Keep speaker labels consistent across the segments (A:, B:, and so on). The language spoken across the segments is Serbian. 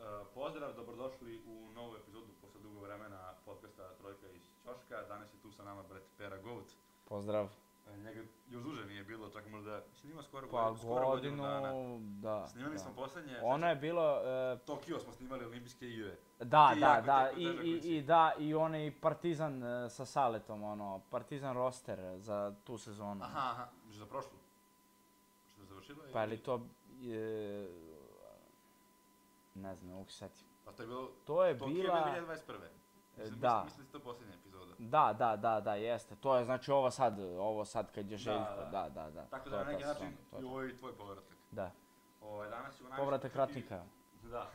A: E, Поздрав, добродошли у ново епизоду после дуго време на подкаста Тројка из Чошка. Данес е ту со нама брат Пера Говт.
B: Поздрав.
A: Некад јоз уже ни е било, чак можда... Снима скоро,
B: Па
A: година- скоро годину дана.
B: годину, да.
A: Снимали
B: да.
A: сме последње...
B: Оно е било е,
A: Токио сме снимали Олимпијске игри.
B: да,
A: Ти
B: да,
A: јако
B: да,
A: тежко,
B: и,
A: тежак
B: и,
A: лице.
B: и да, и оне и Партизан е, со Салетом, оно, Партизан ростер за ту сезону.
A: Аха, аха, беше за прошло. Што завршило и...
B: Па или то е, не знам, ук сети.
A: Па тоа е било...
B: Тоа е
A: Токио
B: била
A: била... 2021.
B: Е,
A: Мислам,
B: да.
A: Мислам, мислам, последна епизода.
B: Да, да, да, да, јесте. Тоа е значи ова сад, ово сад кај
A: Да,
B: е Желјко,
A: да.
B: да, да, да.
A: Така
B: тоа
A: да на
B: е таа
A: некој начин
B: сезона, тоа е
A: и
B: тоа.
A: овој твој повраток.
B: Да,
A: Овој данас си го најмеш.
B: повратак ратника.
A: Да.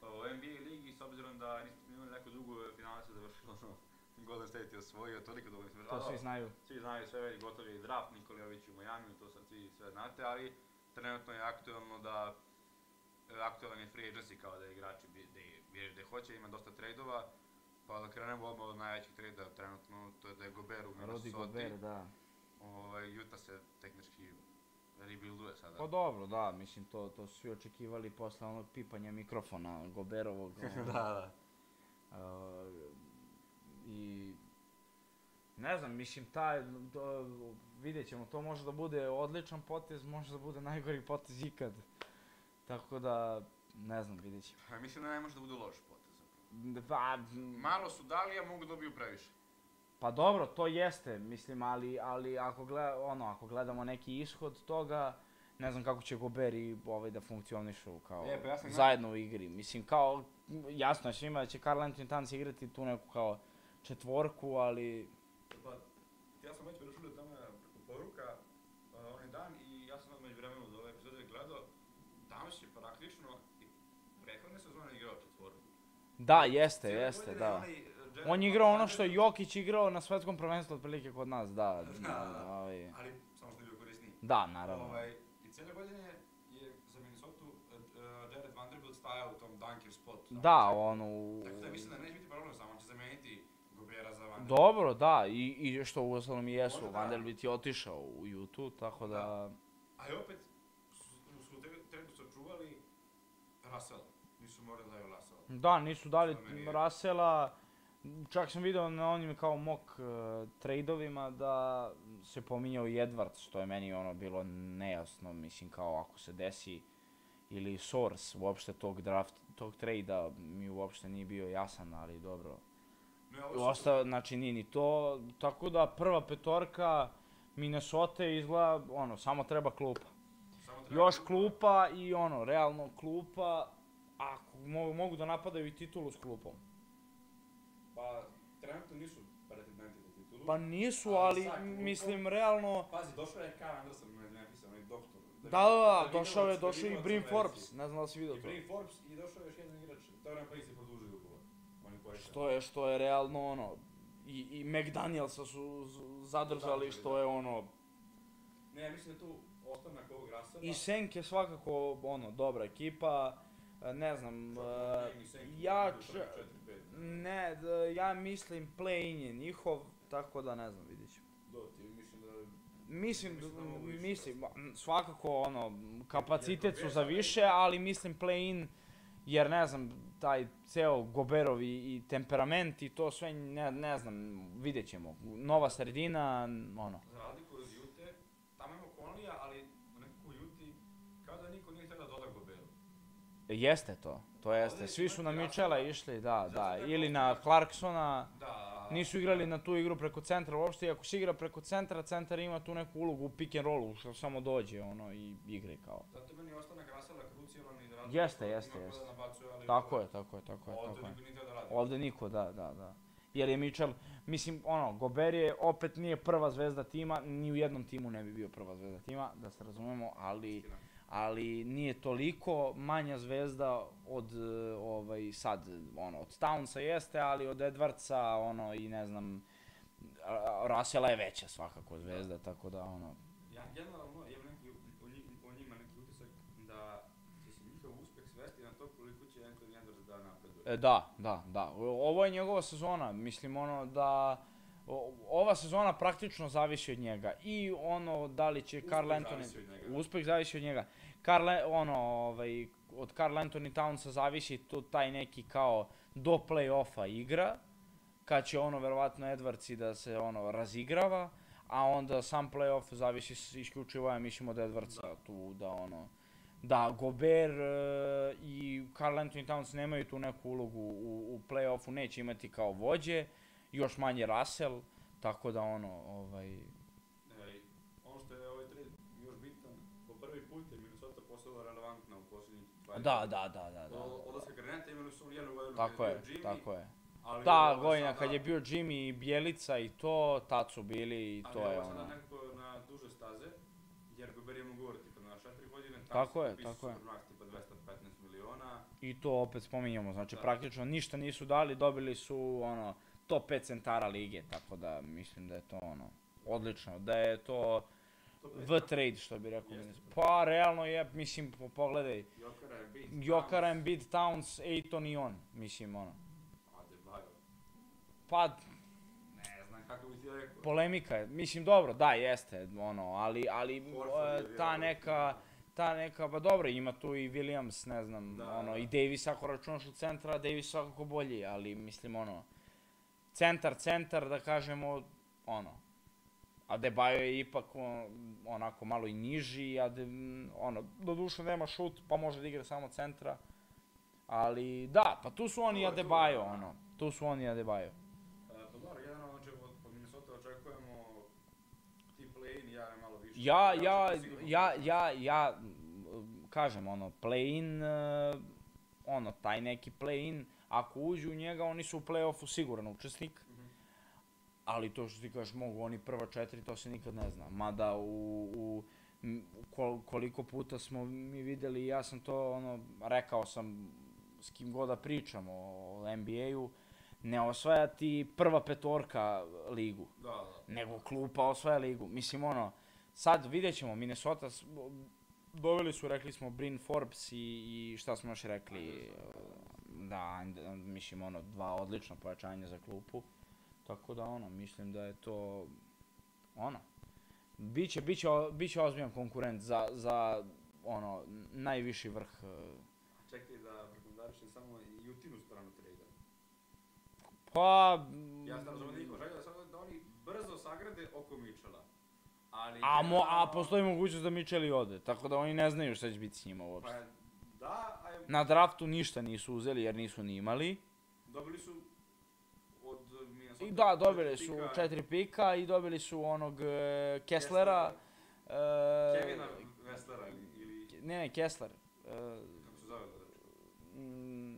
A: Во NBA лиги, с обзиром да нисме снимали некој дуго, финалот се завршило со ono, Golden State ја освоио, толико долго сме.
B: Тоа сви знају.
A: Сви знаеме све вели готови и драфт Николајовиќ у Мајами, тоа се сви све знаете, али тренутно е актуелно да е, актуелен е free agency као да играчи би- да ги бираш да хоче, има доста трейдова. Па да кренемо одма од највеќи трейда тренутно, тоа е да е Гобер у
B: Роди Гобер,
A: Миннесоти.
B: да.
A: Овој Јута се технички ребилдуе
B: Па
A: сада.
B: Pa dobro, da, mislim to to su svi očekivali posle onog pipanja mikrofona Goberovog. ono,
A: да.
B: a, I ne znam, mislim taj do, vidjet ćemo, to može da bude odličan potez, može da bude najgori potez ikad. Tako da ne znam, vidjet ćemo.
A: Па Мислам да не може да буде лош потез. заpravo.
B: Pa,
A: Мало су дали, а могу да добiju превише.
B: pa dobro, to jeste, mislim, ali, ali ako, gleda, ono, ako gledamo neki ishod toga, ne znam kako će Gober i ovaj da funkcionišu kao
A: E, pa ja sam-
B: zajedno u igri. Mislim, kao, jasno je svima da će Karl Anthony Towns igrati tu neku kao četvorku, ali
A: Па, јас сум веќе решил таме преку порука а, оној дан и јас сум меѓувремено до овој епизод да гледал таму си практично и претходна сезона играл четворку.
B: da, jeste,
A: Цела
B: jeste,
A: година
B: da.
A: оној, е, Jared
B: On je igrao ono
A: Alexander,
B: što je Jokić igrao na svetskom prvenstvu otprilike kod nas, da.
A: Da, Ovaj, da.
B: ovaj,
A: Али само што не бил корисни.
B: da, naravno.
A: Овај и целе година е за Миннесоту е, е, Джаред Вандербилт стаја у том данкер спот.
B: Da, ono... u-
A: Така да мислам да не ќе биде проблем, само ќе заменити Гобера за Вандербилт.
B: Dobro, da, i, i što u ostalom i jesu,
A: Možda da.
B: Vanderbilt je otišao u Jutu, tako da...
A: Da. А и опет су- су трето сочували Расел. Нису морали да ја Расел.
B: Da, nisu dali
A: Što meni je-
B: Rasela, čak sam video na onim kao mock uh, tradeovima da se pominjao i Edwards, što je meni ono bilo nejasno, mislim kao ako se desi ili source uopšte tog draft, tog trejda mi uopšte nije bio jasan, ali dobro.
A: Но ја овој
B: Osta, znači nije ni to, tako da prva petorka Minnesota izgleda, ono, samo treba klupa.
A: само треба
B: Još
A: да-
B: klupa i ono, realno klupa, ako mo- mogu da napadaju i titulu s klupom.
A: Па тренутно нису претенденти за титулу.
B: Pa nisu,
A: Ali
B: ali
A: sad, koliko-
B: mislim realno...
A: Пази, дошо е Карл Андерсон на Мемфис, оној доктор.
B: Da, da, da,
A: види
B: došao je,
A: Лоц- да
B: došao
A: види
B: i
A: Лоц
B: Brim
A: верзија.
B: Forbes, ne znam da si
A: И
B: vidio to.
A: Брим Форбс и дошо јаш еден играч. Торен Пейси продолжи уговор. Они поеша.
B: Što je, što je realno ono... I, i McDanielsa su z- zadržali,
A: Zadržali,
B: što
A: da.
B: je ono...
A: Не, ја мислам ту останак овог Расела.
B: I Senk je svakako, ono, dobra ekipa, e, ne znam... e, Ja č... Ne, d- ja mislim play-in je njihov, tako da ne znam, vidit ćemo.
A: До, ти мислам да
B: Mislim,
A: Mislim da mogu ići
B: mislim, m, svakako ono, kapacitet su za
A: Gober,
B: više, ali mislim play-in, jer ne znam, taj ceo Goberov i, i temperament i to sve, ne, ne znam, vidjet ćemo. Nova sredina, n- ono.
A: За разлика од Јуте, таму има Конлија, али некако Јути као да никој не треба да дода Гоберу.
B: Jeste to, to jeste.
A: Ovdje
B: Svi su na
A: imate
B: Mičela
A: razloga.
B: išli, da,
A: Zato
B: da,
A: je
B: ili
A: to-
B: na Clarksona.
A: Да.
B: Nisu igrali na tu igru preko centra uopšte, iako se igra preko centra, centar ima tu neku ulogu u pick and rollu, što samo dođe ono i igre kao.
A: Затоа мени останак Расела круцијален и да ради.
B: Jeste,
A: тоа,
B: jeste,
A: има
B: jeste.
A: кој да набацува, али
B: Tako je, tako je, tako je,
A: Овде
B: tako je.
A: никој не треба да ради.
B: Ovde niko, da, da, da. Jer je Mitchell, mislim, ono, Gober je opet nije prva zvezda tima, ni u jednom timu ne bi bio prva zvezda tima, da se razumemo, ali,
A: Istina.
B: ali nije toliko manja zvezda od, e, ovaj, sad, ono, od Townsa jeste, ali od Edwardsa, ono, i ne znam, Rasela je veća svakako zvezda, tako da, ono,
A: Ја генерално имам неки у нив у нима неки утисак да ќе се njihov успех свести на тоа колико ќе Ентони Ендерс да напредува.
B: E, da, da, da. O- Ovo je njegova sezona, mislim ono da o- ova sezona praktično zavisi od njega i ono da li će
A: Uspeh
B: Karl
A: zavisi od
B: Anthony
A: njega.
B: uspeh zavisi od njega. Karl ono ovaj od Carl Anthony Townsa zavisi tu taj neki kao do play-offa igra, kad će ono verovatno Edwards i da se ono razigrava, a onda sam play-off zavisi s- isključivo, ja mislimo da Edwardsa tu da ono da Gober e, i Carl Anthony Towns nemaju tu neku ulogu u, u play-offu, neće imati kao vođe, još manje Russell, tako da ono, ovaj,
A: E, ono što je ovaj trade još bitan, po prvi put je Minnesota postala relevantna u posljednjih 20
B: da, da, da, da, da.
A: Od odlaska Granata imali su jednu godinu
B: Tako
A: kad
B: je,
A: je bio Jimmy,
B: tako je.
A: ali
B: Ta
A: ovo
B: godina
A: sada-
B: kad je bio Jimmy i Bjelica i to, tad su bili i to
A: ali
B: je
A: ovo sada
B: ono.
A: nekako na duže staze, jer Gober je mu ugovor tipa na 4 godine, Towns
B: Tako je,
A: potpisao
B: tako je.
A: Supermax tipa 215 miliona,
B: I to opet spominjamo, znači
A: Da.
B: praktično ništa nisu dali, dobili su ono top 5 centara lige, tako da mislim da je to ono odlično, da je to
A: To je
B: v trade što bi rekao.
A: Jeste.
B: ministar. Pa realno je, mislim po- pogledaj,
A: Jokara je bit.
B: Jokara, Embiid, Towns, Aiton i on, mislim ono.
A: Adebayo.
B: Pa
A: Ne znam kako bi ti rekao.
B: polemika je, mislim dobro, da jeste ono, ali, ali
A: Horford je
B: e, ta
A: vjerojatno.
B: neka ta neka, pa dobro, ima tu i Williams, ne znam,
A: Da,
B: ono,
A: da.
B: i Davis ako računaš od centra, Davis svakako bolji, ali mislim, ono, centar, centar, da kažemo, ono, Adebayo je ipak on- onako malo i niži, a de, ono, doduše nema šut, pa može da igra samo centra, ali da, pa tu su oni i
A: To je to, da.
B: Adebayo, ono, tu su oni i Adebayo.
A: E, Pa dobro, jedan ono od od Minnesota očekujemo ti play-in, ja je malo više.
B: Ja,
A: igrača,
B: ja,
A: to sigurno.
B: ja, ja, ja, m, kažem, ono, play-in, e, ono, taj neki play-in, ako uđu u njega, oni su u play-offu siguran učesnik,
A: Mhm.
B: ali to što ti kažeš, mogu oni prva četiri, to se nikad ne zna, mada u, u m, kol- koliko puta smo mi videli, ja sam to, ono, rekao sam s kim god da pričam o, o NBA-u, ne osvaja ti prva petorka ligu
A: Da, da.
B: nego klupa osvaja ligu. Mislim, ono, sad vidjet ćemo, Minnesota, s- bo- doveli su, rekli smo, Brin Forbes i, i šta smo još rekli, da, and- mislim, ono, dva odlična pojačanja za klupu, tako da, ono, mislim da je to, ono, biće, biće, o- biće ozbiljan konkurent za, za, ono, najviši vrh, e,
A: Čekaj da prekomentarišem samo i Jutinu stranu trejda.
B: pa,
A: Ja sam razumio da niko želio da, sad da oni brzo sagrade oko Mičela. Ali...
B: a, mo, a
A: generalno-
B: postoji mogućnost da Mitchell i ode, tako da oni ne znaju šta će biti s njima uopšte.
A: Pa da, a je-
B: Na draftu ništa nisu uzeli jer nisu ni imali.
A: dobili su od Minnesota...
B: I da, dobili su
A: pika
B: četiri pika i dobili su onog e, Kesslera. e,
A: Kevina Veslera ili- ili...
B: Ne, ne, Kessler. e,
A: Kako se zove?
B: mm,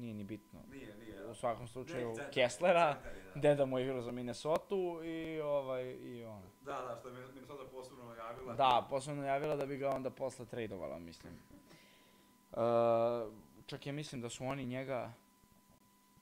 B: nije ni bitno.
A: Nije, nije.
B: U
A: da.
B: svakom slučaju
A: Ne, centar,
B: Kesslera.
A: centar je, da.
B: Deda mu je igrao za Minnesotu i ovaj, i ono.
A: Da, da, što je Min- Minnesota posebno najavila.
B: Da, posebno najavila da bi ga onda posle tradovala, mislim. E, čak ja mislim da su oni njega,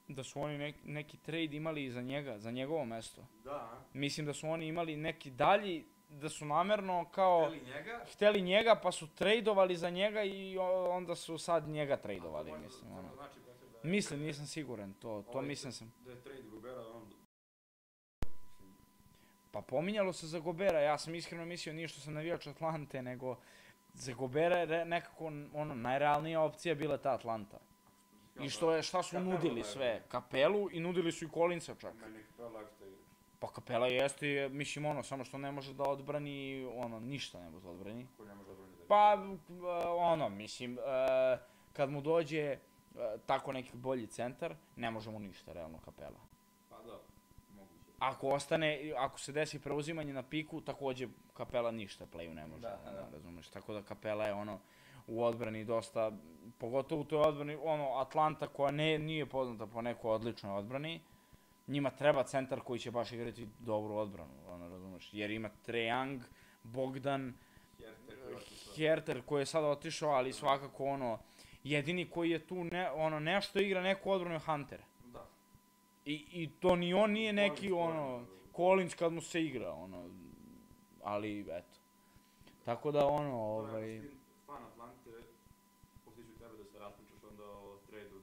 B: da su oni nek- neki trade imali i za njega, za njegovo mesto.
A: Da,
B: Mislim da su oni imali neki dalji, da su namerno kao
A: ili njega.
B: hteli njega pa su tradeovali za njega i o- onda su sad njega
A: a to
B: tradeovali,
A: možda
B: mislim.
A: samo
B: Ono.
A: Znači, Petar, da je-
B: Mislim, nisam siguran, to, to
A: Ovaj-
B: mislim sam.
A: Da je trade Gobera on...
B: Pa pominjalo se za Gobera, ja sam iskreno mislio nije što sam navijač Atlante, nego za Gobera je re- nekako n- ono, najrealnija opcija bila ta Atlanta. I što je, šta su
A: Kapelu
B: nudili
A: da je-
B: sve? Kapelu i nudili su i Kolinca čak.
A: Meni kao lakše igra.
B: Pa Kapela jeste, je, mislim ono, samo što ne može da odbrani, ono, ništa ne može da odbrani.
A: Ko ne može odbraniti da
B: Pa, uh, ono, mislim, uh, kad mu dođe uh, tako neki bolji centar, ne može mu ništa, realno, kapela.
A: Pa da, moguće.
B: Ako ostane, ako se desi preuzimanje na piku, takođe kapela ništa playu ne može, ono,
A: Da, da, da.
B: razumeš. Tako da kapela je ono u odbrani dosta, pogotovo u toj odbrani, ono, Atlanta koja ne, nije poznata po nekoj odličnoj odbrani, njima treba centar koji će baš igrati dobru odbranu, ono, razumeš. Jer ima Trejang, Bogdan,
A: Herter,
B: Herter koji je sad otišao, ali svakako ono, jedini koji je tu ne, ono, nešto igra neku odbranu je Hunter.
A: Da.
B: I, I to ni on nije
A: Collins,
B: neki
A: Collins,
B: ono,
A: da.
B: Collins kad mu se igra, ono, ali eto. Tako da ono, ovaj,
A: To je fan Atlante, potiču tebe da se raspričaš onda o tradu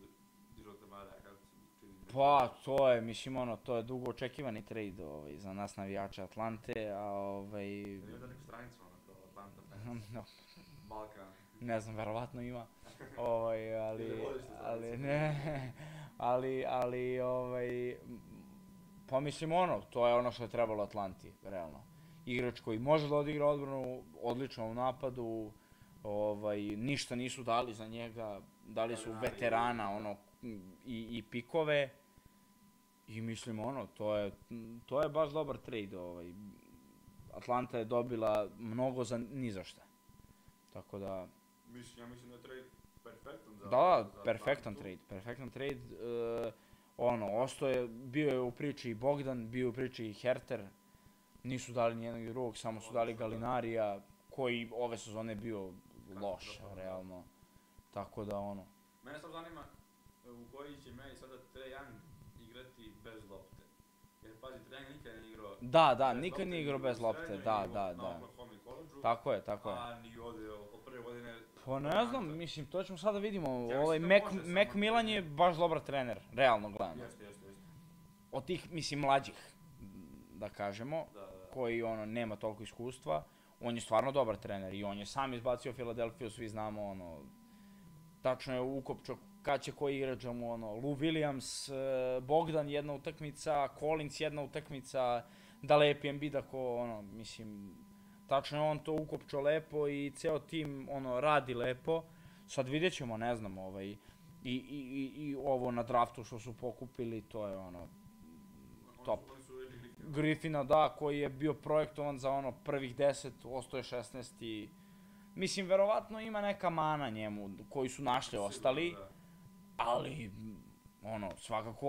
A: Dirota Mara, kako se čini.
B: pa to je, mislim ono, to je dugo očekivani trade ovaj, za nas navijače Atlante, a ovaj,
A: па, Ili da neku stranicu ono kao Atlanta,
B: no,
A: Balkan.
B: Ne znam, verovatno ima. Ovaj, ali,
A: Ne voliš se za
B: ali
A: lice.
B: ne, ali, ali, ovaj, m, pa mislim ono, to je ono što je trebalo Atlanti, realno. Igrač koji može da odigra odbranu, odlično u napadu, ovaj, ništa nisu dali za njega, dali su
A: Veterani.
B: veterana, ono, i, i pikove. I mislim ono, to je, to je baš dobar trade, ovaj. Atlanta je dobila mnogo za ni za šta. Tako da,
A: Mislim, ja mislim da je trade perfektan za...
B: da,
A: za
B: da, perfektan
A: Atlantu.
B: trade, perfektan trade. e, ono, ostao je, bio je u priči i Bogdan, bio je u priči i Herter. Nisu dali nijednog i drugog, samo su
A: Odlično,
B: dali
A: da.
B: Galinarija, koji ove sezone bio loš,
A: Katastrofalan, da.
B: realno. Tako da, ono,
A: Mene samo zanima e, u koji će meni sada Trae Young igrati bez lopte. Jer pazi, Trae Young nikad nije igrao
B: Da, da,
A: bez
B: nikad
A: lopte,
B: nije
A: ni
B: igrao
A: u
B: bez lopte,
A: srednjoj,
B: da,
A: ni u-
B: da,
A: na
B: da.
A: Oklahoma collegeu,
B: Tako je, tako je.
A: A ni ovdje, od prve godine...
B: Pa ne
A: Atlanta.
B: znam, mislim, to ćemo sada vidimo.
A: mislim
B: ovaj,
A: da
B: Mac,
A: može samo
B: Mac
A: da-
B: Milan je baš dobar trener, realno gledano.
A: Jeste, jeste, jeste.
B: Od tih, mislim, mlađih, da kažemo,
A: Da, da.
B: koji ono, nema toliko iskustva, on je stvarno dobar trener i on je sam izbacio Filadelfiju, svi znamo, ono, tačno je ukopčao kad će koji igrač da mu, ono, Lou Williams, eh, Bogdan jedna utakmica, Collins jedna utakmica, da lepi Embiida ko, ono, mislim, tačno je on to ukopčao lepo i ceo tim, ono, radi lepo. Sad vidjet ćemo, ne znam, ovaj, i, i, i, i ovo na draftu što su pokupili, to je, ono,
A: Oni su-
B: top.
A: Oni su uvijek igrali.
B: Griffina, da, koji je bio projektovan za ono prvih 10, ostao je 16 i... Mislim, verovatno ima neka mana njemu koju su našli
A: Sigurno,
B: ostali,
A: da.
B: ali m, ono, svakako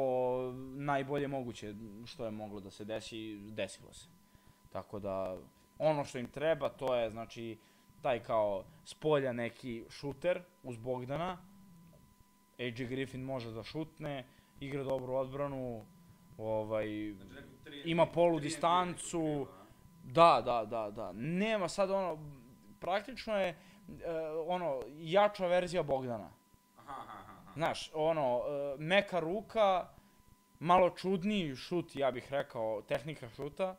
B: najbolje moguće što je moglo da se desi, desilo se. Tako da, ono što im treba to je, znači, taj kao spolja neki šuter uz Bogdana, AJ Griffin može da šutne, igra dobru odbranu, ovaj,
A: Znači, neku tri-
B: Ima
A: tri-
B: polu
A: tri-
B: distancu.
A: tri- tri- tri-
B: Da, da, da, da. Nema sad ono, praktično je e, ono, jača verzija Bogdana.
A: Aha, aha, aha.
B: Znaš, ono, e, meka ruka, malo čudniji šut, ja bih rekao, tehnika šuta,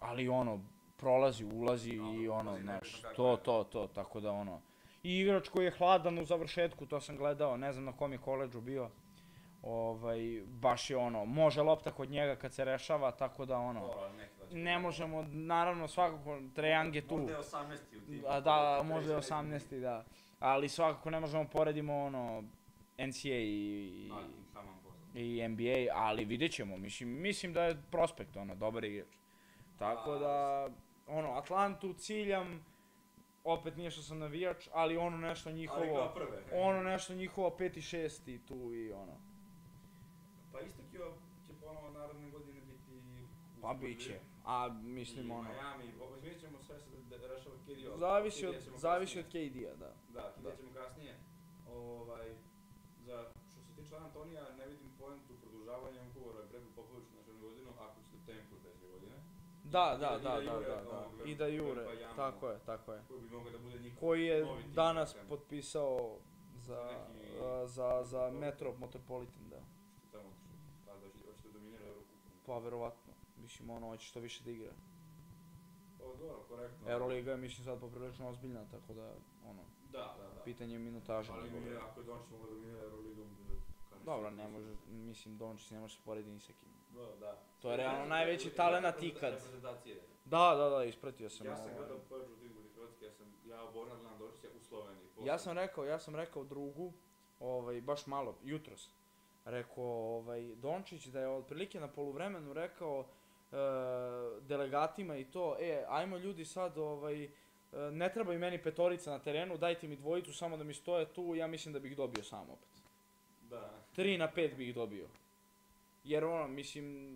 B: ali ono, prolazi, ulazi i
A: Dobro,
B: ono,
A: ulazi,
B: znaš,
A: nebitno kako
B: to,
A: je.
B: to, to, tako da ono. I igrač koji je hladan u završetku, to sam gledao, ne znam na kom je koleđu bio. Ovaj, baš je ono, može lopta kod njega kad se rešava, tako da ono.
A: Dobro, neki da će-
B: Ne možemo, naravno, svakako, Trejang je tu.
A: Možda je 18. u timu.
B: A da, možda je 18. da. Ali svakako ne možemo poredimo ono NCAA i,
A: Da, taman posao.
B: i NBA, ali vidjet ćemo. Mislim, mislim da je prospekt, ono, dobar igrač. Tako
A: A,
B: da, ono, Atlantu ciljam, opet nije što sam navijač, ali ono nešto
A: Ali kao
B: njihovo,
A: prve.
B: ono nešto njihovo 5 i 6 i tu i ono.
A: Pa isto Kio će ponovo naredne godine biti... u
B: Pa
A: Srbiji.
B: bit će. A
A: I
B: mislim ono,
A: Miami, ovo izmijenit ćemo sve se da da rešava KD. ali
B: zavisi
A: KD
B: od,
A: ćemo
B: zavisi od
A: kasnije.
B: KD-a, da.
A: Da,
B: da.
A: KD ćemo kasnije. Ovaj, za, što se tiče Antonija, ne vidim point u produžavanju ugovora Gregu Popoviću na jednu godinu, ako će tempo sledeće godine,
B: Da,
A: I
B: da,
A: da- i da
B: da, da,
A: jure
B: da,
A: ovoga, pa
B: da. I da jure,
A: Pepa Jamu.
B: tako je, tako je.
A: koji bi mogao da bude njihov
B: Koji je
A: novi tim,
B: danas
A: tako,
B: potpisao za,
A: neki-
B: a, za, za Metro Metropolitan, da.
A: što je tamo otišao. Pa da će očito dominira Eurokupu.
B: Pa verovatno, mislim ono hoće što više da igra.
A: Ovo je dobro, korektno.
B: Euroliga je mislim sad poprilično ozbiljna, tako da ono,
A: Da, da, da.
B: pitanje je minutaža.
A: Ali
B: njegove.
A: mi, ako je Dončić mogao dominira Euroligom, kao nešto-
B: Dobro, ne može, mislim Dončić ne može se porediti ni sa kim.
A: Dobro, da.
B: To je realno
A: Reprezenta-
B: najveći
A: re-
B: talenat
A: reprezenta-
B: ikad.
A: reprezentacije.
B: Da, da, da, ispratio sam.
A: Ja sam
B: ovaj.
A: gledao prvi protiv protiv Hrvatske, ja sam, ja obožavam Milan Dočića u Sloveniji.
B: Ja sam rekao, ja sam rekao drugu, ovaj, baš malo, jutros, rekao ovaj, Dončić da je otprilike na poluvremenu rekao e, delegatima i to, e, ajmo ljudi sad, ovaj, e, ne treba i meni petorica na terenu, dajte mi dvojicu samo da mi stoje tu, ja mislim da bih ih dobio sam opet.
A: Da.
B: 3 na 5 bih ih dobio. Jer ono, mislim,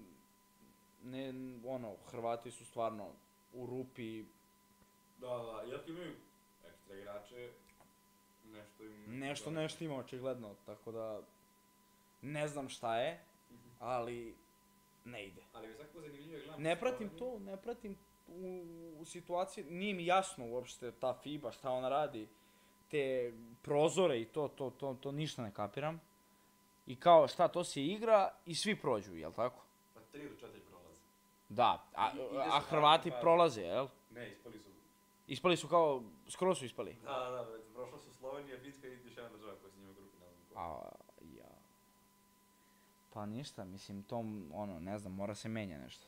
B: ne, ono, Hrvati su stvarno u rupi,
A: Da, da, iako imaju ekstra igrače, nešto im...
B: Nešto, nešto ima očigledno, tako da ne znam šta je,
A: Mhm.
B: ali ne ide.
A: Ali mi je svakako zanimljivo je gledam...
B: Ne pratim
A: Sloveniju.
B: to, ne pratim u, u situaciji, nije mi jasno uopšte ta FIBA, šta ona radi, te prozore i to, to, to, to ništa ne kapiram. I kao šta, to se igra i svi prođu, jel tako?
A: Pa tri do četiri prolaze.
B: Da, a,
A: I- ide
B: a
A: se na
B: Hrvati
A: par.
B: prolaze, jel?
A: Ne, ispali su.
B: Ispali su kao, skoro su ispali.
A: Da, da, da, prošlo
C: Makedonija, Finska i još jedna država koja se njima grupi nalazi.
B: A, ja. Pa ništa, mislim, tom, ono, ne znam, mora se menja nešto.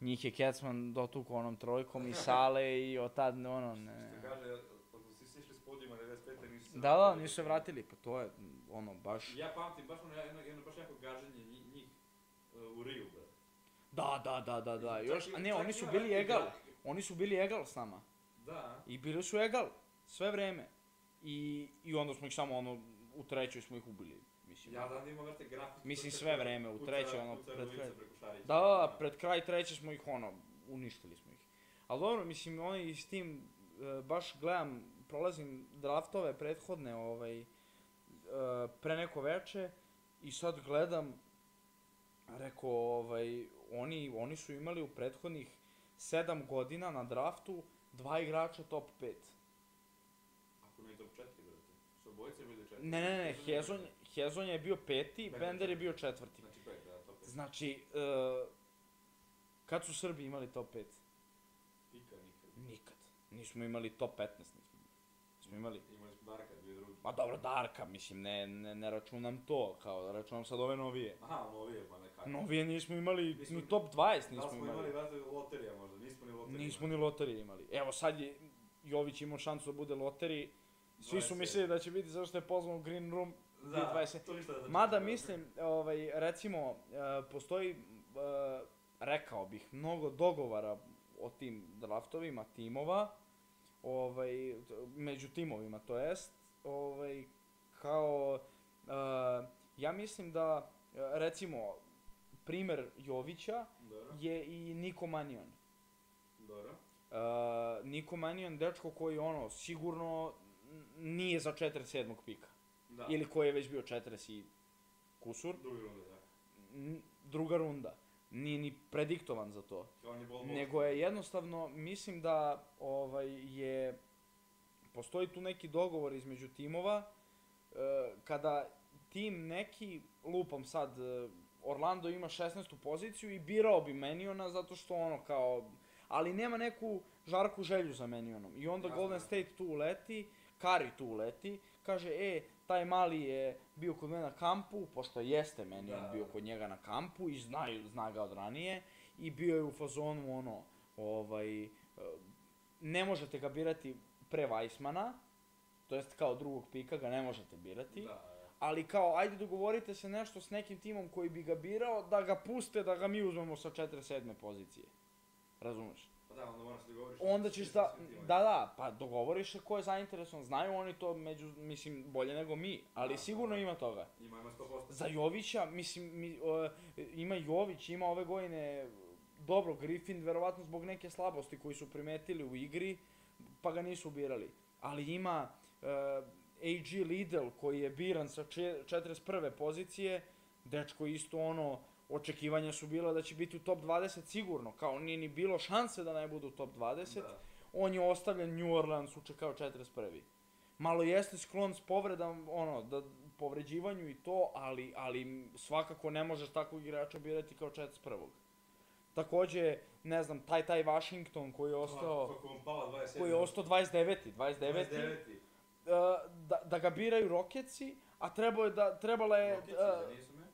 B: Njih je Kecman dotukao onom trojkom i Sale i od tad, ono, ne...
C: Što kaže, ako svi si išli s podijuma 95. nisu se
B: Da, da, nisu se vratili, pa to je, ono, baš...
A: Ja pamtim baš ono jedno, jedno baš jako gaženje njih, njih e, u Riju, bre.
B: Da, da, da, da, da,
A: Čak
B: još,
A: i-
B: a ne,
A: čak
B: oni
A: i
B: su
A: na
B: bili
A: ratni
B: egal,
A: brak.
B: oni su bili egal s nama.
A: Da.
B: I bili su egal, sve vreme. I, i onda smo ih samo, ono, u trećoj smo ih ubili, mislim.
A: Ja znam da ima vrte grafike.
B: Mislim,
A: to što
B: sve
A: kao
B: vreme, u
A: puca-
B: trećoj, ono,
A: puca
B: pred
A: ulica
B: kraj.
A: preko Šarića.
B: Da, da, da, pred kraj treće smo ih ono, uništili smo ih. Ali dobro, mislim, oni s tim, e, baš gledam, prolazim draftove prethodne, ovaj, e, pre neko veče i sad gledam, reko, ovaj, oni, oni su imali u prethodnih sedam godina na draftu dva igrača top 5.
A: Ako ne top 4, brate. Što obojice bili Znači, 4.
B: Ne, ne, ne, Hezon, Hezon je bio peti,
A: Bender
B: Bender je
A: četvrti.
B: bio četvrti.
A: Znači 5, da, top 5.
B: Znači, e, kad su Srbi imali top 5?
A: Pika nikad.
B: Nikad. Nismo imali top 15, nismo. Smo imali.
A: Imali smo Darka, dvije drugi.
B: Ma dobro, Darka, mislim, ne, ne, ne računam to, kao računam sad ove novije.
A: Aha, ali ovije, ma nekako.
B: Novije nismo imali,
A: Nismo-
B: ni top 20
A: Da li
B: nismo
A: smo imali
B: imali.
A: veze loterija možda, nismo ni loterija.
B: Nismo ni loterije imali. Evo sad je Jović imao šansu da bude loteri. Svi su mislili da će biti zato što je pozvan u Green Room. bio
A: da,
B: 20.
A: to ništa da znači.
B: Mada mislim, ovaj, recimo, e, postoji, e, rekao bih, mnogo dogovara o tim draftovima timova, ovaj, t- među timovima to jest, ovaj, kao, e, ja mislim da, e, recimo, primer Jovića
A: Dobro,
B: je i Niko Manion.
A: dobro.
B: E, Niko Manion, dečko koji, ono, sigurno n- nije za 47. pika.
A: Da.
B: Ili koji je već bio 40 i kusur.
A: Drugi runde, da.
B: n- druga runda. Nije ni prediktovan za to.
A: Kao ni Znači, bol bol.
B: Nego je jednostavno, mislim da ovaj, je, postoji tu neki dogovor između timova, e, kada tim neki, lupam sad, e, Orlando ima 16. poziciju i birao bi Meniona zato što ono kao, ali nema neku žarku želju za Menionom. I onda
A: Jasno.
B: Golden State tu uleti, Kari tu uleti, kaže, e, taj mali je bio kod mene na kampu, pošto jeste Menion
A: Da.
B: bio kod njega na kampu i zna, zna ga od ranije, i bio je u fazonu ono, ovaj, e, ne možete ga birati pre Weissmana, to jest kao drugog pika ga ne možete birati,
A: Da, da.
B: ali kao ajde dogovorite se nešto s nekim timom koji bi ga birao da ga puste da ga mi uzmemo sa 47. pozicije. Razumeš?
A: Pa da, onda moraš da govoriš.
B: Onda ćeš da, da, da, pa dogovoriš se ko je zainteresovan, znaju oni to među, mislim, bolje nego mi, ali
A: Da,
B: sigurno
A: da.
B: ima toga.
A: Ima, ima 100%.
B: Za Jovića, mislim, mi, o, ima Jović, ima ove godine dobro Griffin, verovatno zbog neke slabosti koju su primetili u igri, pa ga nisu birali. Ali ima e, AG Lidl koji je biran sa čet- 41. pozicije, dečko isto ono, očekivanja su bila da će biti u top 20 sigurno, kao nije ni bilo šanse da ne bude u top 20,
A: Da.
B: on je ostavljen New Orleans uče kao 41. Malo jeste sklon s povredom, ono, da povređivanju i to, ali, ali svakako ne možeš takvog igrača birati kao 41. Takođe, ne znam, taj taj Washington koji je ostao,
A: Ono, Kako vam pala 27.
B: koji je ostao 29. 29.
A: 29.
B: Uh, da, da ga biraju Rocketsi, a trebao je da, trebala je,
A: Rokići,
B: uh,
A: da nisu me?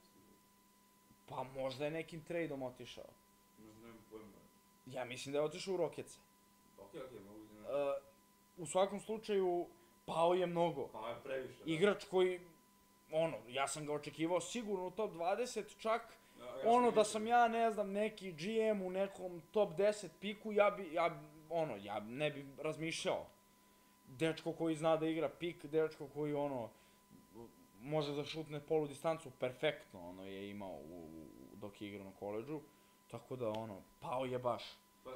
B: pa možda je nekim tradeom otišao.
A: Možda nemam pojma.
B: Ja mislim da je otišao u Rocketse.
A: Okej, okej, mogu da ne...
B: Uh, u svakom slučaju, pao je mnogo.
A: Pa je previše. da.
B: igrač koji ono, ja sam ga očekivao sigurno u top 20, čak
A: Ja- ja
B: ono
A: vidio.
B: da sam ja, ne znam, neki GM u nekom top 10 piku, ja bi, ja, ono, ja ne bi razmišljao. Dečko koji zna da igra pik, dečko koji, ono, može da šutne polu distancu, perfektno, ono, je imao u, u- dok je igrao na koleđu, tako da, ono, pao je baš.
A: Pa,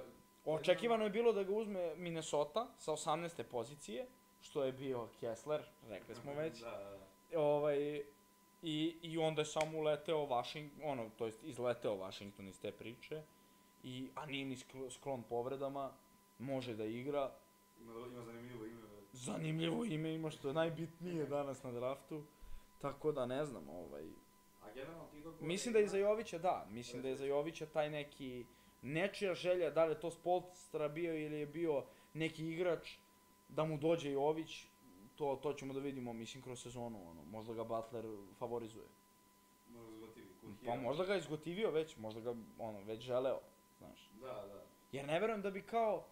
B: Očekivano je bilo da ga uzme Minnesota sa 18. pozicije, što je bio Kessler, rekli smo već
A: Da, da, da.
B: ovaj, i, i onda je samo uleteo Washington, ono, to jest izleteo Washington iz te priče, i, a nije ni skl- sklon povredama, može da igra,
A: Ima, ima zanimljivo ime. brate.
B: zanimljivo ime ima što je najbitnije danas na draftu, tako da ne znam, ovaj,
A: A generalno ti dok...
B: mislim da je za Jovića, da, mislim da je za Jovića taj neki, nečija želja, da li je to Spolstra bio ili je bio neki igrač, da mu dođe Jović, to, to ćemo da vidimo, mislim, kroz sezonu, ono, možda ga Butler favorizuje.
A: Možda zgotivi.
B: Pa možda ga je izgotivio već, možda ga, ono, već želeo, znaš.
A: Da, da.
B: Jer ne verujem da bi kao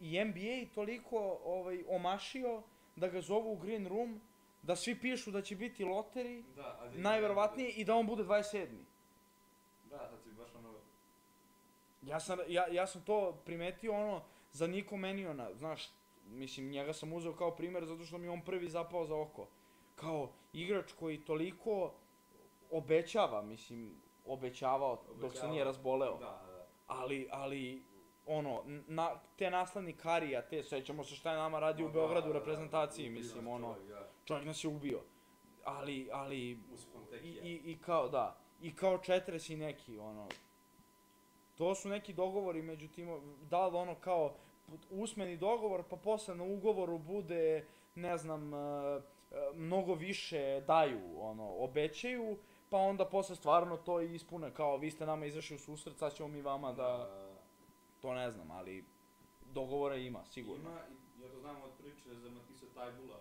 B: i NBA toliko ovaj, omašio da ga zovu u Green Room, da svi pišu da će biti loteri,
A: Da, ali...
B: najverovatnije, i da on bude 27.
A: Da, sad si baš ono...
B: Ja sam, ja, ja sam to primetio ono za Niko Meniona, znaš, mislim njega sam uzeo kao primjer zato što mi je on prvi zapao za oko. Kao igrač koji toliko obećava, mislim, obećavao, dok se
A: Obećavao.
B: nije razboleo.
A: Da, da.
B: Ali, ali, ono, n- na, te nasledni karija, te, sećamo se šta je nama radio u
A: Ma,
B: Beogradu
A: da,
B: u
A: da,
B: reprezentaciji,
A: ubio
B: mislim,
A: nas
B: ono,
A: čovjek, da.
B: čovjek nas je ubio. Ali, ali,
A: Uspom
B: i,
A: tekija.
B: i, i kao, da, i kao 40 i neki, ono, to su neki dogovori među timo, da li ono kao put- usmeni dogovor, pa posle na ugovoru bude, ne znam, e, e, mnogo više daju, ono, obećaju, pa onda posle stvarno to i ispune, kao vi ste nama izašli u susret, sad ćemo mi vama da, to ne znam, ali dogovora ima, sigurno.
A: Ima, i ja to znam od priče za Matisa Tajbula,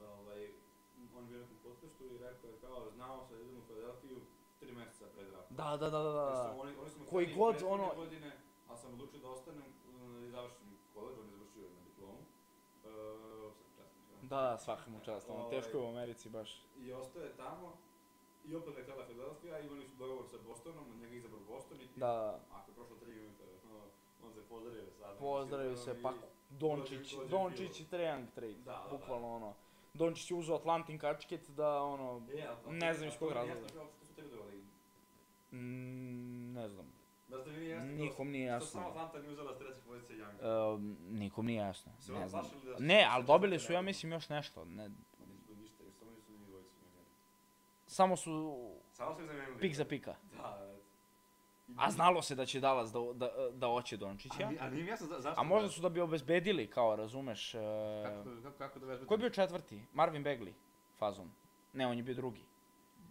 A: ovaj, on je bio na nekom podcastu i rekao je kao, znao sam da idem u Philadelphia tri mjeseca pred draftom.
B: Da, da, da, da,
A: Jer
B: da.
A: su Oni, oni su me
B: Koji
A: hteli
B: god,
A: prethodne
B: ono-
A: Godine, ali sam odlučio da ostanem uh, i završim koleđ, on je završio na diplomu. Uh, sam časnik, ja.
B: Da, da, svaka mu čast, ono,
A: Ovaj,
B: teško je u Americi baš.
A: I ostao je tamo, i opet me htjela Philadelphia, imali su dogovor sa Bostonom, njega je izabrao Boston i ti-
B: Da, da.
A: Ako je prošlo tri minuta, ono, on se pozdravio sad.
B: Pozdravio se, pa Dončić,
A: dođe
B: Dončić
A: bilo.
B: i Trejang trade,
A: Da, da, da.
B: bukvalno ono. Dončić je uzeo Atlantin kačket da ono,
A: E,
B: Ne znam iz kog razloga. mm, ne znam,
A: Da ste vi nije jasno.
B: nikom nije
A: Što samo
B: jasno.
A: Fanta nije uzela s treće pozicije Younga.
B: Um, nikom nije jasno,
A: Se ono
B: ne znam.
A: plašili da su-
B: Ne, ali
A: da su
B: dobili su,
A: treneri.
B: ja mislim, još nešto. Ne,
A: Nisu ništa, jer samo nisu ni dvojicu menjali.
B: samo su
A: Samo su ih zamenili.
B: pik za pika.
A: Da, i-
B: A znalo se da će Dallas da, da, da oće Dončića.
C: A, ni- a nije mi jasno za- zašto...
B: A možda su da bi obezbedili, kao, razumeš. e,
C: Kako, to- kako, kako da vezmete?
B: Ko je bio četvrti? Marvin Bagley, fazom. Ne, on je bio drugi.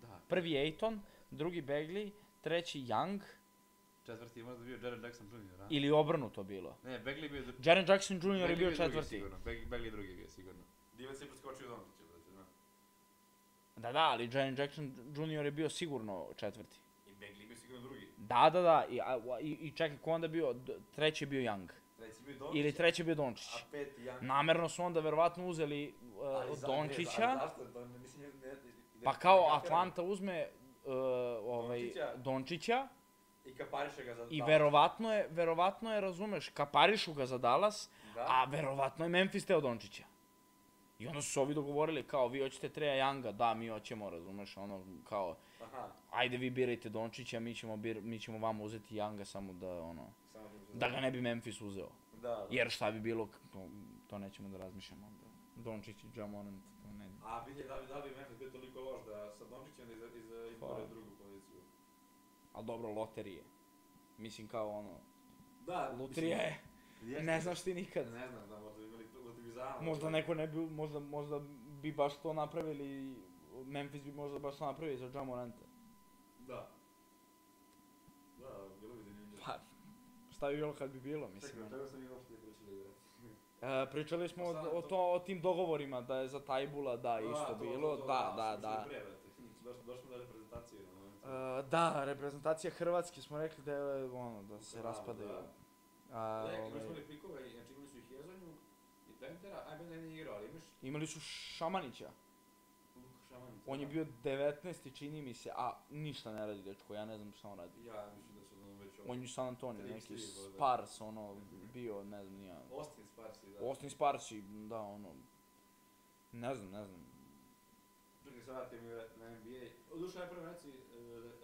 C: Da,
B: Prvi Ejton, drugi Bagley, treći Young,
C: četvrti je možda bio Jared Jackson Jr., a?
B: ili obrnuto bilo.
C: Ne, Bagley bio... dru-
B: Jaren Jackson Jr.
C: Bagley
B: je bio
C: drugi
B: četvrti.
C: sigurno, Bag- Bagley drugi je bio sigurno.
A: Divac je preskočio Dončića, brate, znam.
B: Da, da, ali Jaren Jackson Jr. je bio sigurno četvrti.
A: I Bagley je bio sigurno drugi.
B: Da, da, da, i, a- a- i, i čekaj, ko onda bio? D- Treći je bio Young.
A: Treći je bio Dončić,
B: Ili treći je bio Dončić.
A: a peti Young.
B: Namerno su onda verovatno uzeli uh,
A: Ali za- ne, ali
B: Dončića,
A: zašto? Da, ne, mislim, ne- ne- ne-
B: pa kao
A: ne- ne-
B: Atlanta uzme uh, ovaj,
A: Dončića.
B: Dončića,
A: I kapariše ga za
B: I
A: da.
B: verovatno je, verovatno je, razumeš, kaparišu ga za Dallas,
A: Da.
B: a verovatno je Memphis teo Dončića. I onda su se ovi dogovorili kao, vi hoćete Treja Younga, da, mi hoćemo, razumeš, ono, kao,
A: Aha,
B: ajde vi birajte Dončića, mi ćemo, bir, mi ćemo vam uzeti Younga samo da, ono,
A: samo sam se-
B: da ga ne bi Memphis uzeo.
A: Da, da.
B: Jer šta bi bilo, k- to, to nećemo da razmišljamo onda. Dončić i Jamorant, to ne.
A: A vidi, da bi, da bi Memphis bio toliko loš da sa Dončićem iz, iz,
B: Pa.
A: izbore drugu poziciju.
B: Ali dobro, loterije. Mislim kao ono,
A: Da,
B: lutrija je,
A: mislim,
B: ne
A: jeste.
B: znaš ti nikad.
A: Ne znam, da možda bi imali protiv Bizana.
B: Možda neko ne bi, možda, možda bi baš to napravili, Memphis bi možda baš to napravio za Jamoranta.
A: Da. Da, bilo bi zanimljivo.
B: Pa, šta bi bilo kad bi bilo,
A: Čekaj,
B: mislim.
A: o
B: ono.
A: čemu sam mi uopšte pričali igrati?
B: E, pričali smo o,
A: Sad to-
B: o, to, o tim dogovorima, da je za Tajbula,
A: Ah,
B: da, isto bilo, da, da, da.
A: Došli došli na reprezentaciju. ono.
B: E, da, reprezentacija Hrvatske smo rekli da je, ono, da se
A: Da,
B: raspadaju.
A: da.
B: A,
A: Ne, imali smo
B: ovaj,
A: one pikove, znači imali su i Hezonju i Pentera, a Bender nije igrao, ali imaš
B: imali su Šamanića,
A: Luka Šamanića.
B: on je bio 19. čini mi se, a ništa ne radi dečko, ja ne znam šta on radi.
A: Ja mislim da su ono već ovo.
B: On je u San Antonio,
A: Tri,
B: neki
A: tri, valjda.
B: Spars, ono, bio, ne znam, nija.
A: Austin Sparks je, da.
B: Austin Spars i da ono ne znam, ne znam.
A: Čekaj, se vratim na NBA. Odušao je prvo reci, e,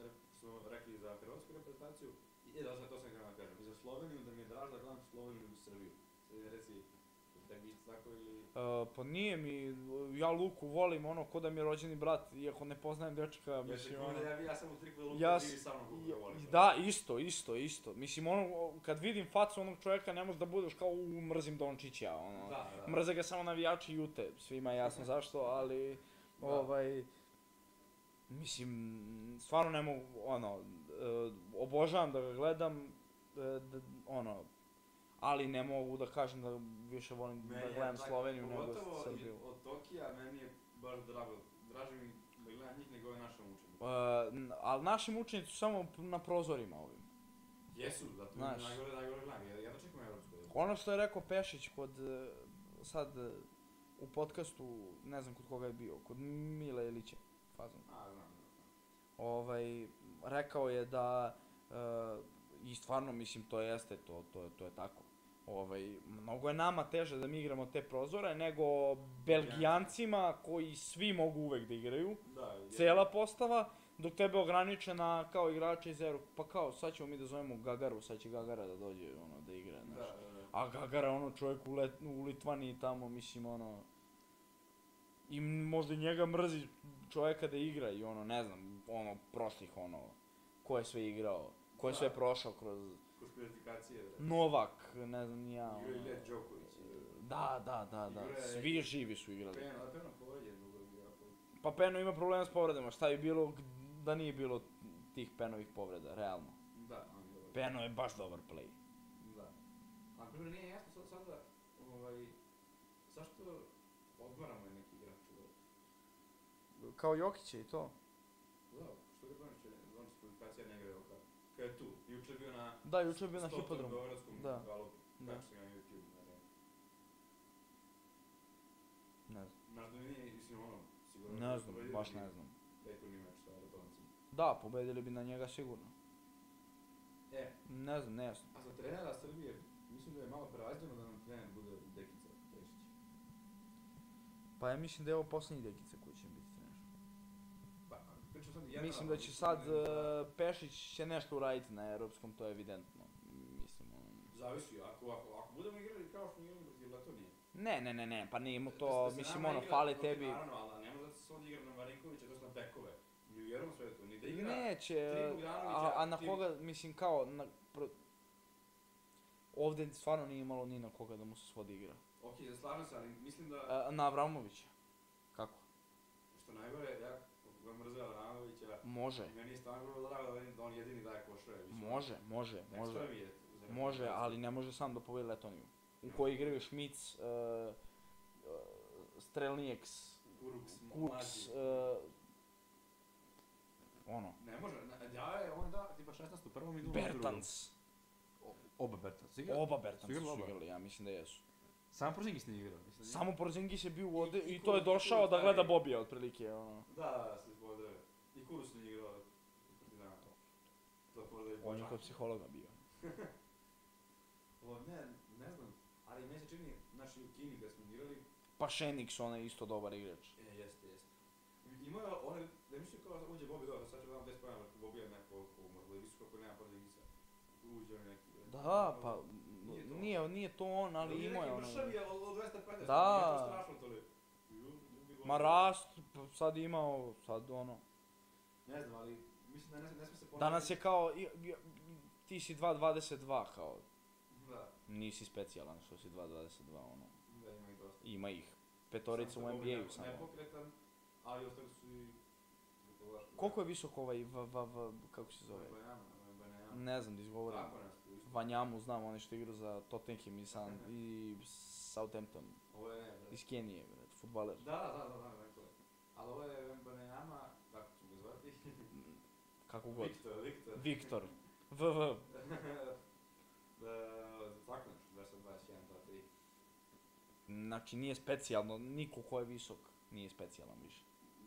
A: re- smo rekli za hrvatsku reprezentaciju. I e, da, sad to sam gledam kažem. I za Sloveniju, da mi je draža da gledam Sloveniju i Srbiju. Sad je reci, da bi isto tako ili...
B: E, pa nije mi, ja Luku volim ono ko da mi je rođeni brat, iako ne poznajem dečka,
A: Ja se
B: mislim ono.
A: da ja, bi- ja sam u triku da Luka
B: Ja
A: ja,
B: s-
A: živi sa mnom
B: Ja,
A: kako volim.
B: Da, isto, isto, isto. Mislim, ono, o, kad vidim facu onog čovjeka, ne možeš da budeš kao, u, mrzim Dončića, ono.
A: Da, da.
B: Mrze ga samo navijači Jute, svima je jasno zašto, ali,
A: Da.
B: ovaj, mislim, stvarno ne mogu, ono, e, obožavam da ga gledam, e, d- ono, ali ne mogu da kažem da više volim
A: Meni
B: da
A: je
B: gledam
A: tako,
B: Sloveniju nego
A: pogotovo i
B: Srbiju.
A: Od Tokija meni je baš drago. Draže mi da gledam njih nego ove naše mučenike.
B: Uh, ali naši mučenici su samo p- na prozorima ovim.
A: Jesu, zato mi
B: Znaš.
A: je najgore, najgore gledam. Ja, ja dočekam evropsko.
B: Ono što je rekao Pešić kod, e, sad, e, u podcastu, ne znam kod koga je bio, kod Mila Ilića, fazom.
A: A, znam, znam.
B: ovaj, rekao je da, e, i stvarno mislim to jeste, to, to, to je tako. Ovaj, mnogo je nama teže da mi igramo te prozore nego Belgijancima koji svi mogu uvek da igraju,
A: Da, je-
B: cela postava, dok tebe ograniče na kao igrača iz Eru, pa kao sad ćemo mi da zovemo Gagaru, sad će Gagara da dođe ono da igra, znaš.
A: Da, e,
B: A Gagara, ono, čovjek u, Let, u Litvaniji tamo, mislim, ono... I m- možda i njega mrzi čovjeka da igra i ono, ne znam, ono, prostih, ono, ko je sve igrao, ko je
A: Da.
B: sve prošao kroz
A: kroz kvalifikacije, bre.
B: Novak, ne znam, ni ja, ono...
A: Igrao je Ilija Đoković. e,
B: Da, da, da, da,
A: Igrao je-
B: svi živi su igrali.
A: Peno, a Peno povređen dugo je bio. ako-
B: Pa Peno ima problema s povredama, šta bi bilo g- da nije bilo tih Penovih povreda, realno.
A: Da, on je dobro.
B: Peno je baš dobar play.
A: Da. A prvo nije jasno sad sada, ovaj, zašto odmaramo je neki igrač u
B: Kao Jokić je i to.
A: Da, što ga Donović, Donović kvalifikacija ne igrao kad, kad je tu. Juče je bio na
B: Da, juče je bio na
A: Stotom
B: hipodromu.
A: Beogradskom
B: Da.
A: galopu,
B: Da.
A: kako se ga na YouTube, ne, ne.
B: Ne znam,
A: Znaš da nije, mislim, ono, sigurno...
B: ne znam, baš ne znam.
A: Dayton ima šta da donosim.
B: Da, pobedili bi na njega sigurno.
A: E,
B: Ne znam, nejasno.
A: a za trenera Srbije, mislim da je malo prerađeno da nam trener bude Dekica Pešić.
B: Pa ja mislim da je ovo posljednji dekica koji će biti trener.
A: Pa, pričam sad jedna...
B: mislim da će sad e, Pešić će nešto uraditi na europskom, to je evidentno. Mislim, ono...
A: Zavisi, ako, ako, ako budemo igrali kao što smo igrali protiv Letonije.
B: Ne, ne, ne, ne, pa nije mu
A: Da
B: to,
A: se
B: mislim,
A: nama
B: ono,
A: igra
B: fali
A: protiv,
B: tebi.
A: Naravno, ali ne može da se sad igra na Marinkovića, to su na bekove. Ni u jednom svetu, ni da igra...
B: Neće,
A: tri Bogdanovića,
B: e, a, a na
A: ti-
B: koga, mislim, kao, na, pro... ovdje stvarno nije imalo ni na koga da mu se svodi igra.
A: Ok, da slažem se, ali mislim da...
B: E, na Avramovića. Kako?
A: Što je najgore, ja koliko ga mrzeo Ranovića,
B: Može,
A: meni je stvarno bilo drago da on- da on jedini daje koševe. više.
B: može, može,
A: Ekstra
B: može.
A: mi je za-
B: Može, ali ne može sam da pobedi Letoniju. U kojoj igraju Šmic, uh, uh, Strelnijeks,
A: Kuruks,
B: Kurks,
A: Kurks.
B: uh, ono,
A: Ne može, na- ja je on da, tipa 16. u prvom i drugom.
B: Bertans.
C: Oba Bertans igra.
B: Oba Bertans
C: Su
B: su
C: igrali oba?
B: igrali, ja mislim da jesu.
C: Sam Porzingis nije igrao. Mislim,
B: Samo Porzingis je bio ovde
A: i
B: i to je
A: Kurus,
B: došao
A: Kurus,
B: da gleda
A: ali-
B: Bobija otprilike, ono.
A: Da, da, se zbode. I Kurus nije igrao protiv dana. To prodaju
B: On je kod psihologa bio.
A: O, ne, ne znam, ali meni se čini, znaš, i u Kini gde smo igrali,
B: Pa Šenix, on je isto dobar igrač.
A: e, jeste, jeste. Ima je onaj, ne mislim kao da uđe Bobby dobro, sad ću vam 10 pojena, Bobby je neko, ko možda i visoko, ako nema Porzingisa. Uđe on neki. ono.
B: Da, pa,
A: nije to on.
B: nije, nije to on, ali imao je ono.
A: Mršav je od 250,
B: Da.
A: nije to strašno toliko. I drugi- drugi
B: Ma
A: gol.
B: rast, pa sad imao, sad ono.
A: Ne znam, ali mislim da ne, ne sme se ponašati.
B: Danas je kao, i- i- ti si 2.22 kao,
A: Da,
B: nisi specijalan što si 2.22 ono,
A: da ima i dosta.
B: ima ih petorica u NBA-u
A: samo. Ne
B: samo.
A: pokretan, ali ostali su i...
B: Koliko je visok ovaj, v, v, v, kako se zove? Mm,
A: Banjama, Banjama.
B: Ne znam da izgovorim.
A: Tako nešto, isto.
B: Vanjamu znam, on je što igrao za Tottenham i, San, i Southampton,
A: Ovo je ne, da.
B: iz Kenije, brad, futbaler.
A: Da, da, da, da, da, rekao je. Ali ovo je Banjama, tako ću ga zvati.
B: Kako god.
A: Viktor, Viktor.
B: Viktor. V, v.
A: da, tako nešto, 221, 23.
B: Znači nije specijalno, niko ko je visok nije specijalan više.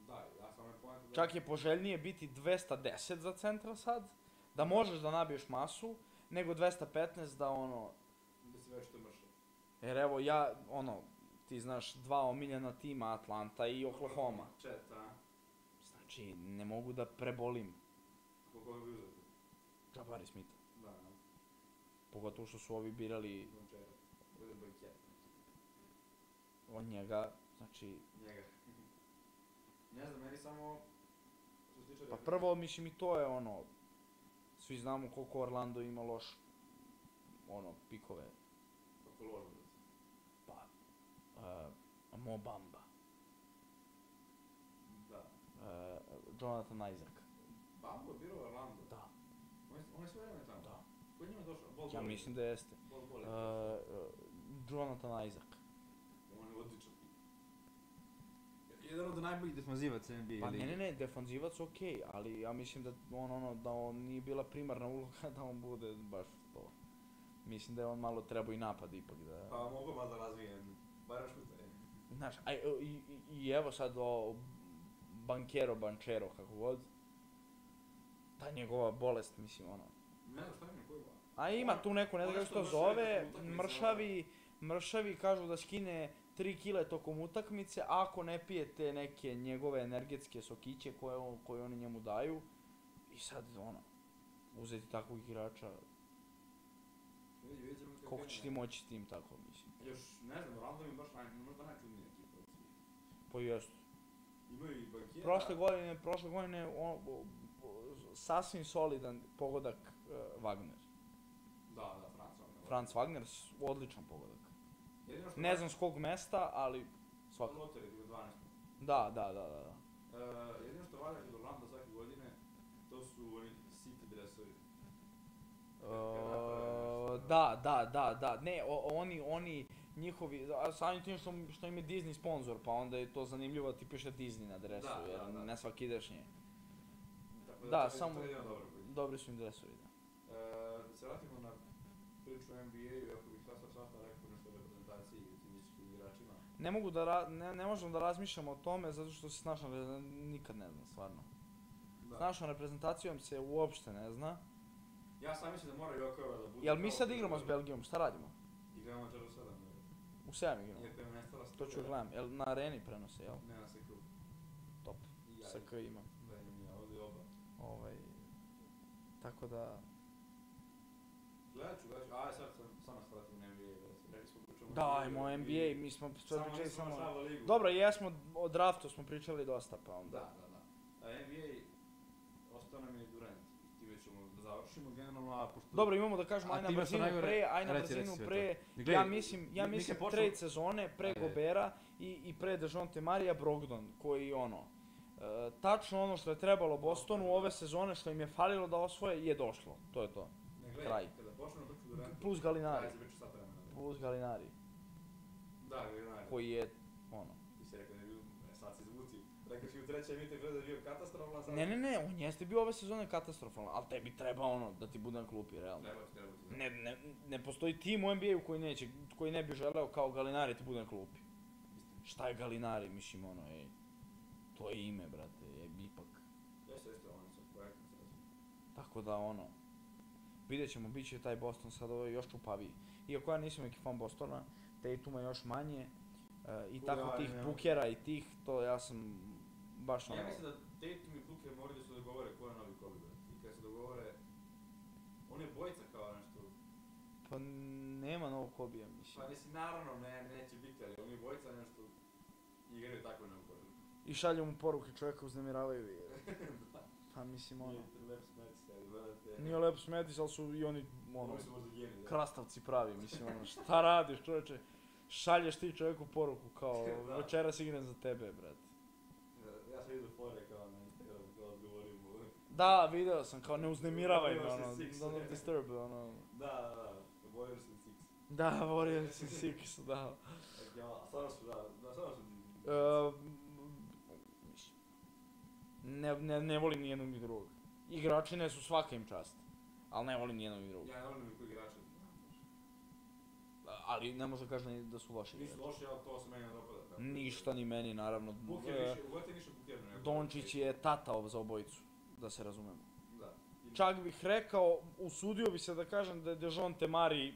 A: Da, ja sam je pojento da...
B: Čak je poželjnije biti 210 za centra sad, da možeš da nabiješ masu, nego 215 da ono,
A: Da si već to mršao.
B: jer evo ja, ono, ti znaš dva omiljena tima Atlanta i Oklahoma.
A: Čet, a?
B: Znači, ne mogu da prebolim
A: Koliko bi uzeti?
B: Jabari Smitha.
A: Da, da.
B: Pogotovo što su ovi birali
A: Idem čera. Bude banket.
B: od njega, znači...
A: Njega. ne znam, meni samo... Što se tiče...
B: Pa prvo, mislim i to je ono, svi znamo koliko Orlando ima loš, ono, pikove.
A: Kako ložno.
B: Pa, uh, Mo Bamba,
A: Da.
B: uh, Jonathan Isaac.
A: Bambo je birao Orlando.
B: Da,
A: On je, on je sve vreme tamo.
B: da.
A: Ko je njima došao? Bol
B: Ja
A: Bol-
B: mislim da jeste.
A: Bol Bol
B: Uh,
A: je.
B: Jonathan Isaac.
A: On je odličan. Jedan od najboljih defanzivaca NBA.
B: Pa ne,
A: lige.
B: ne, ne, defanzivac ok, ali ja mislim da on, ono, da on nije bila primarna uloga da on bude baš to. Mislim da je on malo trebao i napad ipak da...
A: Pa mogu malo da razvijem. Barem šuta je.
B: Znaš, a, i, i, i evo sad o Bankero, Bančero, kako god. Ta njegova bolest, mislim, ono.
A: Ne, šta je mi koji bol?
B: A ima tu neku, ne znam
A: Ono
B: kako se
A: što
B: to
A: mršavi tokom
B: zove,
A: utakmica, ono.
B: mršavi, mršavi kažu da skine 3 kile tokom utakmice, ako ne pije te neke njegove energetske sokiće koje, on- koje oni njemu daju. I sad, ono, uzeti takvog igrača,
A: Vidi, vidjet ćemo kako
B: koliko
A: je
B: ćeš ti
A: krenuo.
B: moći s tim tako, mislim.
A: Još, ne znam, Random je baš naj, možda najčudnija ekipa. u sviju.
B: Pa jest.
A: Imaju i Bankira.
B: Prošle godine, prošle godine, on, o- o- sasvim solidan pogodak e, Wagner.
A: Da, da, Franc. ono.
B: Franz Wagner, s- odličan pogodak.
A: Jedino što-
B: Ne znam s kog mesta, ali svakako.
A: Lotter je bio 12.
B: Da, da, da, da. da.
A: E, jedino što valja kod Orlanda svake godine, to su oni siti dresovi. Kad- kad naprave
B: Uh,
A: nešto.
B: da, da, da, da, ne, o, oni, oni, njihovi, a samim tim što, što im je Disney sponsor, pa onda je to zanimljivo da ti piše Disney na dresu,
A: Da,
B: jer
A: da, da.
B: ne svaki idešnje.
A: Tako
B: da,
A: to je-
B: samo-
A: to je jedino dobro kod njih.
B: Dobri su im dresovi, da.
A: E, da se vratimo na priču o NBA-u, ako bih sasva sasva rekao nešto o reprezentaciji i tim ličkim igračima.
B: Ne mogu da, ra- ne, ne možemo da razmišljamo o tome, zato što se s našom, re- nikad ne znam, stvarno. S našom reprezentacijom se uopšte ne zna.
A: Ja sam mislim da mora Jokova da bude...
B: Jel mi
A: kao-
B: sad igramo s Belgijom, šta radimo?
A: Igramo večer u 7.
B: U 7 igramo.
A: Iako je nestala
B: To ću gledam, jel na areni prenose, jel?
A: Ne, na sekundu.
B: Top.
A: I ja,
B: SK ima.
A: da imam ja, ovdje oba.
B: Ovaj, tako da,
A: Gledat ću, gledat ću. A, sad sam samo shvatio na NBA. da se- Rekli smo pričamo o
B: Da,
A: NBA,
B: imamo
A: i-
B: NBA, mi smo sve
A: Samo
B: pričali
A: nismo
B: samo...
A: našava ligu.
B: Dobro, jesmo, o draftu smo pričali dosta, pa onda.
A: Da, da, da. A NBA, ostao nam je i Durant. I time ćemo da završimo generalno, a pošto...
B: Dobro, imamo da kažemo,
D: A
B: aj na
D: ti imaš
B: brzinu
D: najgore-
B: pre, aj na
D: reci, reci
B: brzinu
D: sve to.
B: pre.
D: Gle,
B: ja mislim, ja
D: Nik- Nik je
B: mislim
D: počeo-
B: trade sezone pre
D: Ajde, ajde.
B: Gobera i, i pre Dejonte Marija Brogdon, koji ono, e, tačno ono što je trebalo Bostonu ove sezone, što im je falilo da osvoje, je došlo. To je to.
A: Ne, gledaj,
B: kraj.
A: Kada počnemo priču Durant,
B: Plus Galinari.
A: Ajde, priču sat vremena.
B: Plus Galinari,
A: Da, Galinari.
B: koji je, ono...
A: Ti si rekao da je bio, e, sad se izvuci. Rekao si u trećem intervju da je bio katastrofalan, sad...
B: Ne, ne, ne, on jeste bio ove sezone katastrofalan, ali tebi treba ono, da ti bude na klupi, realno.
A: Treba ti, treba ti.
B: Ne, ne, ne postoji tim u NBA-u koji neće, koji ne bi želeo kao Galinari ti bude na klupi. Šta je Galinari, mislim, ono, ej, to je ime, brate, je ipak.
A: Jeste, jeste, oni su projektni ovaj sad.
B: Tako da, ono, vidjet ćemo, bit će taj Boston sad ovaj još čupaviji. Iako ja nisam neki fan Bostona, Tatuma još manje, e, i
A: Kuda,
B: tako tih
A: ne.
B: bukera i tih, to ja sam baš ono,
A: Ja mislim da Tatum i Booker moraju da se dogovore ko je novi Kobe Bryant. I kad se dogovore, on je bojica kao nešto.
B: pa nema novog Kobija, mislim.
A: Pa mislim, naravno, ne, neće biti, ali on je bojica nešto. Igraju tako na ugovoru.
B: I šalju mu poruke, čovjeka uznemiravaju i, pa mislim, ono,
A: Lep smet se, ali gledate.
B: nije lepo smetis, ali su i oni, ono,
A: Oni su možda geni, da.
B: krastavci pravi, mislim ono, šta radiš čovječe, šalješ ti čovjeku poruku kao
A: Da.
B: večeras igram za tebe, brate.
A: Ja sam vidio fore kao na Instagramu, kao odgovorim mu.
B: Da, video sam, kao ne uznemiravaj me,
A: Warriors
B: ono,
A: in six.
B: don't disturb, ono.
A: Da, da, da, Warriors in Six.
B: Da, Warriors si six, da.
A: Dakle, ono, a stvarno su, da, da, stvarno su.
B: E, mislim, ne, ne, ne volim ni jednog ni drugog. Igrači ne su svaka im čast, ali ne volim ni jednog ni drugog.
A: Ja ne volim niko igrača.
B: Ali ne može kažem ni da su loši
A: Nisu
B: igrači.
A: loši, ali to se meni ne dopada. tako da-
B: Ništa ni meni, naravno.
A: Buker
B: E,
A: više, uvati više Buker nego.
B: Dončić je tata za obojicu, da se razumemo.
A: Da. I-
B: Čak bih rekao, usudio bi se da kažem da je Dejonte Mari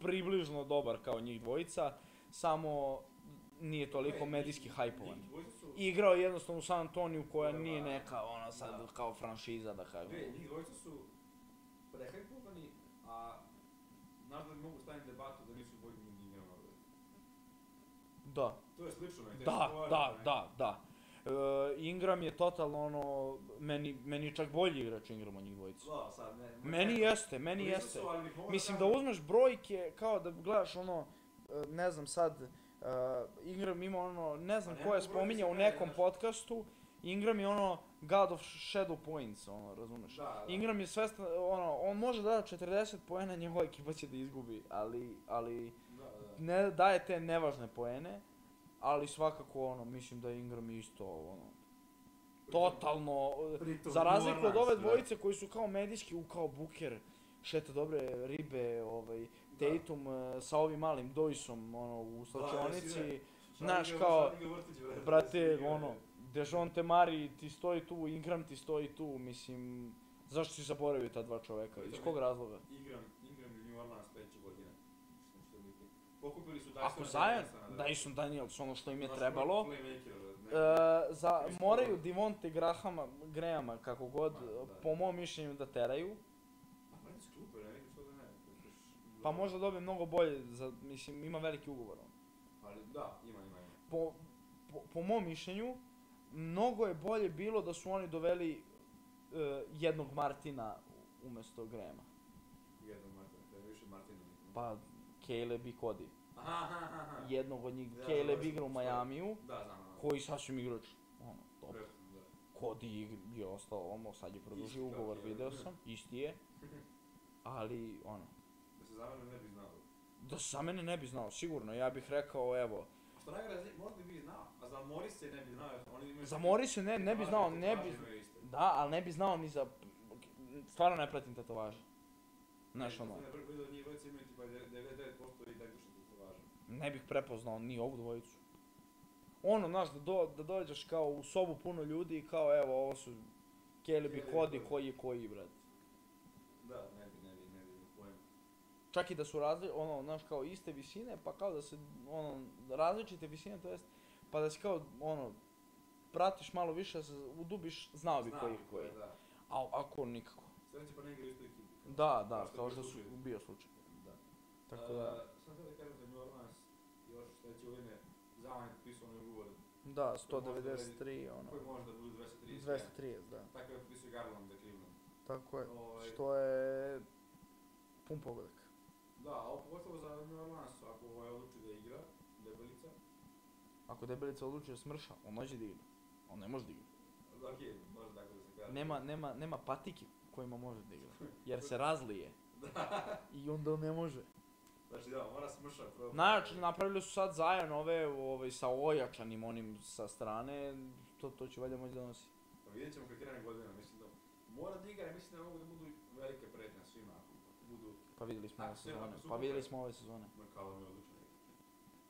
B: približno dobar kao njih dvojica, samo nije toliko
A: E,
B: medijski
A: i-
B: hajpovan.
A: i dvojica su-
B: Igrao je jednostavno u San Antoniju koja
A: Da,
B: nije
A: da.
B: neka ono sad
A: Da.
B: kao franšiza da kažem.
A: Gle, njih dvojica su prehajpovani, a znaš da mogu staviti debatu da nisu bolji ni njima ovdje.
B: Da,
A: To je slično, ne?
B: da, da, da, da. E, Ingram je totalno ono, meni, meni je čak bolji igrač Ingram od njih dvojica.
A: Da, sad ne.
B: Meni jeste, meni
A: Blizu
B: jeste.
A: su, ali bih mogao
B: Mislim da
A: kažem-
B: uzmeš brojke kao da gledaš ono, e, ne znam sad, e, Ingram ima ono, ne znam
A: Pa
B: ko je
A: nema brojke,
B: spominjao u
A: sve je,
B: nekom
A: znaš.
B: podcastu, Ingram je ono God of Shadow Points, ono, razumeš?
A: Da, da.
B: Ingram je svestan, ono, on može da da 40 poena, njegova ekipa će da izgubi, ali, ali
A: Da, da.
B: ne daje te nevažne poene, ali svakako, ono, mislim da je Ingram isto, ono, totalno, eh,
D: Pritom
B: za
D: New
B: razliku od ove
D: Orleans, da.
B: dvojice koji su kao medijski, u kao Buker, šeta dobre ribe, ovaj, Tatum eh, sa ovim malim Doisom, ono, u slačionici, znaš, kao, brate, ono, Dejonte Mari ti stoji tu, Ingram ti stoji tu, mislim, zašto si zaboravio ta dva čoveka, iz kog razloga?
A: Ingram, Ingram i New Orleans sledeće godine. Mislim, što je biti. Pokupili su
B: Ako
A: Dysona
B: Zion,
A: Davisona, da.
B: Dyson Daniels, ono što im je
A: Znaš,
B: trebalo,
A: playmaker, ne.
B: E, za,
A: Chris Paul.
B: moraju Divonte Grahama, Grahama, kako god,
A: Pa, da.
B: po mom mišljenju da teraju,
A: Pa vrati s klupe, ne vidim što da ne.
B: pa možda dobije mnogo bolje, za, mislim, ima veliki ugovor ono. on.
A: Ali da, ima, ima, ima.
B: Po, po, po mom mišljenju, mnogo je bolje bilo da su oni doveli e, jednog Martina umesto Grahama.
A: Jedan Martin, to je više Martin.
B: Pa, Caleb i Cody.
A: Aha, aha, aha.
B: jednog od njih,
A: Da,
B: Caleb
A: dobro,
B: igra u
A: što-
B: Majamiju,
A: Da, znam, znam.
B: koji sasvim igrač, ono, top.
A: Pre- da.
B: Cody igr- je ostao ono, sad je
A: Isti
B: produžio
A: kao
B: ugovor,
A: Caleb,
B: video
A: da.
B: sam, isti je. Ali, ono,
A: Da se zamene ne bi znao.
B: da se za mene ne bi znao, sigurno, ja bih rekao, evo,
A: A što najgore, znači, možda bi znao, a za Morris se ne bi znao, jer oni imaju...
B: za Morrison ne, ne bi znao, ne bi, da, ali ne bi znao ni za, stvarno ne pratim tetovaže. Znaš, ono,
A: Ne, prvi od njih dvojice imaju tipa 99% i tako što ti važno.
B: ne bih prepoznao ni ovu dvojicu. Ono, znaš, da, do, da dođeš kao u sobu puno ljudi i kao, evo, ovo su Caleb i
A: Caleb i
B: Cody,
A: Cody.
B: koji je koji, brate.
A: Da, ne bi, ne bi, ne bi, imao pojma.
B: čak i da su razli, ono, znaš, kao iste visine, pa kao da se, ono, različite visine, to jest, pa da se kao, ono, pratiš malo više, da se udubiš, znao bi
A: Znao
B: koji
A: bi ko
B: koji.
A: je, Da.
B: A ako nikako.
A: Sledeće pa ne igra u istoj ekipi.
B: Da, da,
A: što je bio
B: kao što su
A: slučaj.
B: bio slučaj.
A: Da.
B: Tako da,
A: E, Sad da kažem za New Orleans, još sledeće godine, Zaman je potpisao onaj ugovor
B: da,
A: koji možda
B: 193, ono,
A: koji možda budu 230.
B: 230, da,
A: Tako je potpisao i Garland za Cleveland.
B: tako je,
A: Ovaj,
B: Pa, što je pun pogodak.
A: Da, a pogotovo za New Orleans, ako ovaj odluči da igra, debelica,
B: Ako debelica odluči da smrša, on hoće da igra. On ne može da igra.
A: da ok, može tako da se kaže.
B: Nema, nema, nema patike kojima može da igra, jer se razlije. I onda ne može.
A: Znači da, mora smrša prvo.
B: Znači, napravili su sad Zion ove ovaj, sa ojačanim onim sa strane, to, to će valjda moći da nosi.
A: Pa vidjet ćemo kako krene godina, mislim da mora da igra, jer mislim da mogu da budu velike pretnje svima, ako budu
B: Pa vidjeli smo
A: A,
B: ove
A: sve, ono,
B: sezone.
A: ako su
B: Pa vidjeli
A: ugovore.
B: smo ove sezone.
A: Mekalom je odlučan igra.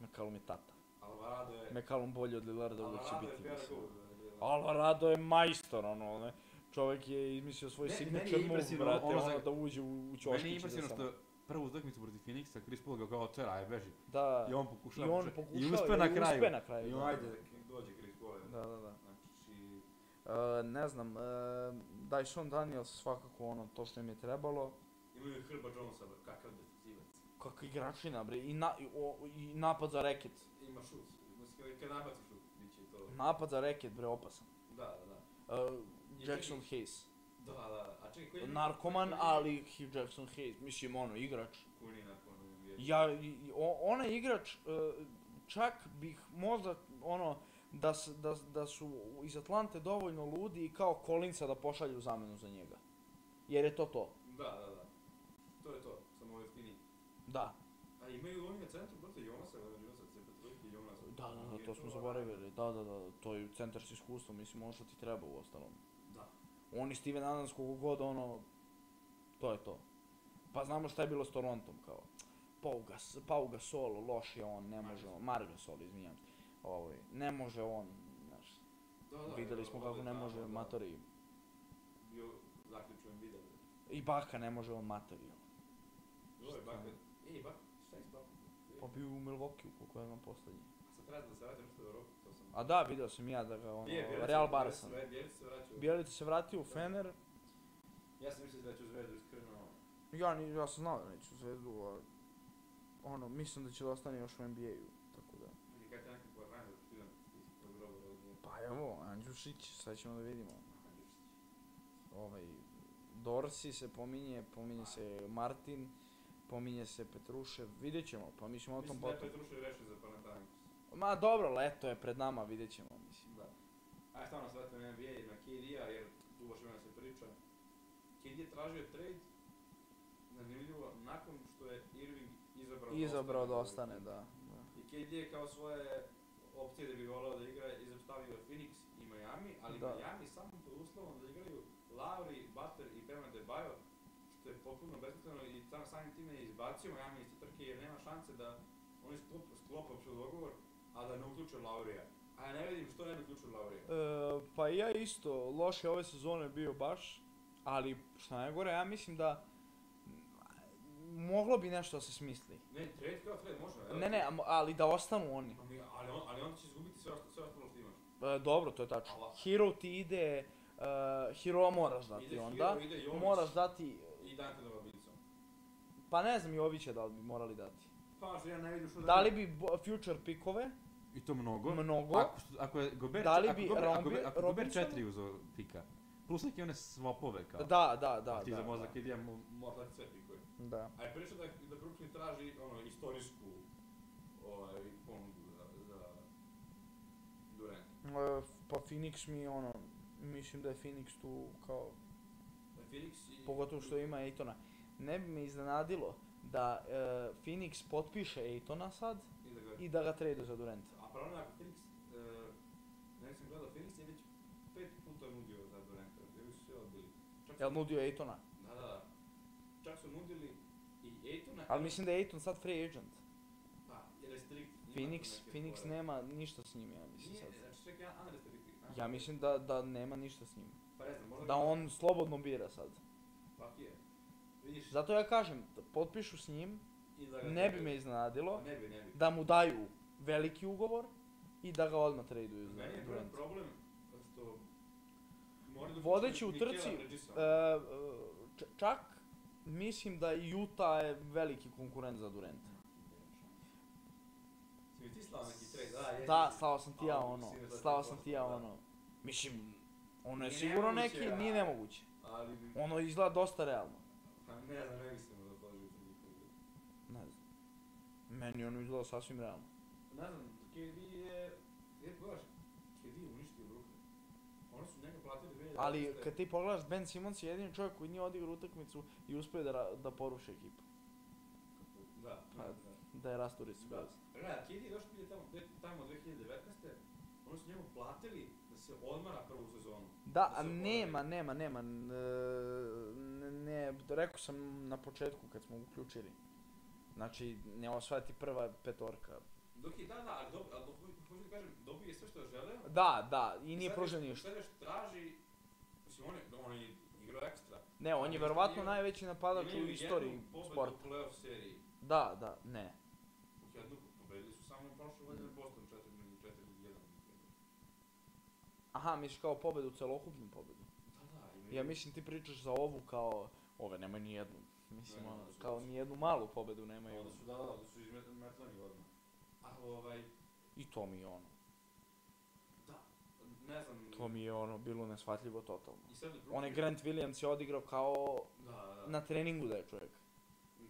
B: McCallum je tata.
A: Alvarado je...
B: McCallum bolji od Lillarda uvijek će
A: Alvarado je
B: biti,
A: fair
B: mislim.
A: goal, da, da, da.
B: Alvarado je majstor, ono, ne. Čovjek je izmislio svoj
D: Meni- meni je
B: signature move,
D: impresivno
B: brate,
D: ono
B: ono,
D: za-
B: da uđe u, u
D: Meni je
B: čoškić i da
D: impresivno
B: samo...
D: što prvu utakmicu protiv Phoenixa Chris Paul ga kao tera, aj beži.
B: Da,
D: I on pokušava.
B: i on
D: pokušava-
B: pokušao
D: I uspe na kraju.
B: Uspe na kraju,
D: I
B: da.
D: on-
A: Ajde, nek dođe Chris Paul.
B: Da, da, da.
A: Znači,
B: E, ne znam, e, Dyson Daniels svakako ono, to što im je trebalo.
A: imaju Herba Jonesa, bro, kakav defensivac.
B: Kakva igračina, bre, i, na, i, o, i napad za reket.
A: Ima šut, mislim, kad- kad nabaci šut, bit će to.
B: Napad za reket, bre, opasan.
A: Da, da, da.
B: Uh,
A: Njih-
B: Jackson Hayes.
A: Da, da, a čekaj, koji je...
B: Narkoman,
A: koji je-
B: ali Hugh Jackson Hayes, mislim, ono, igrač.
A: Kuni nakon NBA.
B: Ja, i- i- o- onaj igrač, uh, čak bih možda, ono, da, s- da, s- da su iz Atlante dovoljno ludi i kao Collinsa da pošalju zamenu za njega. Jer je to to.
A: Da, da, da. To je to, samo jeftiniji.
B: Da,
A: A imaju oni na centru, brate, Jonasa, da, Jonasa, Cepa Trojke, Jonas.
B: da, da, da, to smo zaboravili. Da, da, da, to je centar s iskustvom, mislim, ono što ti treba u ostalom.
A: Da.
B: Oni Steven Adams kogu god, ono, to je to. Pa znamo šta je bilo s Torontom, kao. Pau, Gas, Pau Gasol, loš je on, ne može on, Mario Gasol, izvinjam se. Ovaj, ne može on, znaš,
A: Da, da,
B: videli smo kako ne može
A: da,
B: Matori.
A: Bio zaključujem video. brate.
B: I Baka ne može on Matori.
A: Ovo je Baka. Ej, Baka, šta je s Bakom? Ej,
B: Pa bio u Milwaukee, koliko je on poslednji.
A: Sad treba da se vratim što je Europu, to sam...
B: A da, video sam ja da ga, ono,
A: Nije, Bjelica-
B: Real
A: Bjelica-
B: Barca.
A: Bjelica se vraća u-
B: Bjelica se vratio u Fener,
A: Ja sam mislio da ću zvezdu iskreno.
B: Ja, ni, ja sam znao da neću u zvezdu, ali ono, mislim da će da ostane još u NBA-u, tako da.
A: Ali kad je nekako Barnard otkidan iz tog groba rodnije.
B: Pa evo, Andžušić, sad ćemo da vidimo. Ovaj, Dorsi se pominje, pominje se Martin, pominje se Petrušev, vidjet ćemo, pa mi ćemo o tom
A: Mislim da je
B: potom.
A: Petrušev rešen za Panathinaikos.
B: Ma dobro, leto je pred nama, vidjet ćemo, mislim.
A: Da. A ja stvarno se vratim na NBA i na KD-a, jer tu baš vremena se priča. KD je tražio trade, zanimljivo, nakon što je Irving izabrao da
B: Izabrao da
A: u-
B: ostane, da. da.
A: I KD je kao svoje opcije da bi volao da igra izostavio Phoenix i Miami, ali
B: Da.
A: Miami samo pod uslovom da igraju Lowry, Butler i Bema Debajo, što je potpuno besmisleno i sam samim time je izbacio Miami iz te trke jer nema šanse da oni sklop, sklope uopšte dogovor, a da ne uključe Laurija. A ja ne vidim što ne bi uključio Laurija.
B: E, pa i ja isto, loše ove sezone bio baš, ali što najgore, ja mislim da moglo bi nešto da se smisli.
A: Ne, trade kao trade može, evo.
B: Ne, ne, a mo- ali da ostanu oni.
A: Ali, ali, on, ali on će izgubiti sve, što- sve ostalo što imaš.
B: E, dobro, to je tačno. Hero ti ide, e, Hero moraš dati
A: Ide
B: onda.
A: Hero, ide Jović
B: Moraš dati,
A: i Dante Dovabilicom.
B: pa ne znam Jovića da li bi morali dati.
A: Pa, ja ne vidim što
B: Da li bi bo- future pikove,
E: I to mnogo.
B: mnogo,
E: Ako, što- ako je Gober,
B: Da li
E: ako
B: bi
E: Gober, ako
B: Rombi-
E: Gober, ako Gober
B: Robinson-
E: 4 uzeo pika. Plus neke one swapove kao.
B: da, da, da,
E: Ti za
B: da,
E: možda KD-a mu
A: Mora dati sve pikove.
B: da.
A: A je priča da, da Brooklyn traži ono, istorijsku ovaj, ponudu za, za Durant.
B: E, pa Phoenix mi ono, mislim da je Phoenix tu kao
A: Da Phoenix i...
B: pogotovo što ima Ejtona. Ne bi me iznenadilo da e, Phoenix potpiše Ejtona sad
A: i da ga-
B: i da ga trade za Durenta.
A: A problem je ako Phoenix... E, ne sam gledao, Phoenix je već pet puta nudio za Duranta. Ili su sve odbili. Čak su-
B: Jel nudio Ejtona?
A: Da, da, da. Čak su nudili i Ejtona...
B: Ali mislim da je Ejton sad free agent.
A: Pa, i restrikt. ima tu
B: Phoenix,
A: neke
B: Phoenix
A: fore.
B: nema ništa s njim, ja mislim
A: Nije,
B: sad.
A: znači čak jedan unrestricted. a?
B: Ja mislim da, da nema ništa s njim.
A: Pa ne znam, možda...
B: Da on slobodno bira sad.
A: Pa ti je. Vidiš,
B: Zato ja kažem, da potpišu s njim,
A: i da ga Pa,
B: ne bi me iznenadilo
A: Ne bi, ne bi.
B: da mu daju veliki ugovor i da ga odmah traduju za
A: Meni je prvi
B: Durenta.
A: problem što moraju da
B: Vodeći
A: uključe
B: u
A: Mikela
B: trci,
A: Bridgesa.
B: E, e, č- čak mislim da i Utah je veliki konkurent za Durenta.
A: Si mi ti slao neki trade? Da, jesi.
B: Da, slao sam ti ja
A: Ali
B: ono,
A: mislim da je to
B: slao sam ti ja
A: potpuno,
B: ono. Mislim, ono je
A: Nije
B: sigurno
A: nemoguće,
B: neki,
A: a-
B: nije nemoguće.
A: Ali,
B: Ono izgleda dosta realno.
A: pa ne znam, ne mislim da pođu u drugi krug.
B: Ne znam. Meni ono izgleda sasvim realno.
A: Ne znam, KD je... Gdje pogledaš? KD je uništio Brooklyn. Oni su njega platili 2011.
B: Ali kad ti pogledaš, Ben Simmons je jedini čovjek koji nije odigrao utakmicu i uspio je da, ra- da poruši ekipu.
A: Da,
B: Pa,
A: da.
B: Da je rasturi su
A: Da. Gledaj, KD je došao prije tamo, tamo 2019. Oni su njemu platili da se odmara prvu sezonu.
B: Da,
A: Da
B: a
A: se oporavi.
B: nema, nema, nema. n- Ne, ne, rekao sam na početku kad smo uključili. Znači, ne osvajati prva petorka.
A: Dok je, da, da, ali dobro, ali hoću hoću da kažem, dobio je sve što je želeo.
B: Da, da, i nije
A: sad
B: pružen
A: još-
B: ništa.
A: Sad još traži, mislim, on je, on je igrao ekstra.
B: Ne, on je
A: Imaju
B: verovatno
A: jednu-
B: najveći napadač u istoriji sporta.
A: Imaju jednu pobedu u playoff seriji.
B: Da, da, ne.
A: U jednu pobedili su samo prošle godine Boston 4 4-1.
B: Aha, misliš kao pobedu, celokupnu pobedu.
A: Da, da, imaju-
B: Ja mislim ti pričaš za ovu kao, ove nemaju ni jednu. Mislim,
A: Ne,
B: ono,
A: ne, ne,
B: kao
A: ne.
B: ni jednu malu pobedu nemaju.
A: Onda su, da, da, onda su izmetlani odmah. A ovaj,
B: I to mi je ono.
A: da, ne znam,
B: To mi je ono, bilo neshvatljivo totalno.
A: i sad Brooklyn-
B: Onaj Grant Williams je odigrao kao
A: Da, da, da.
B: na treningu da je čovjek.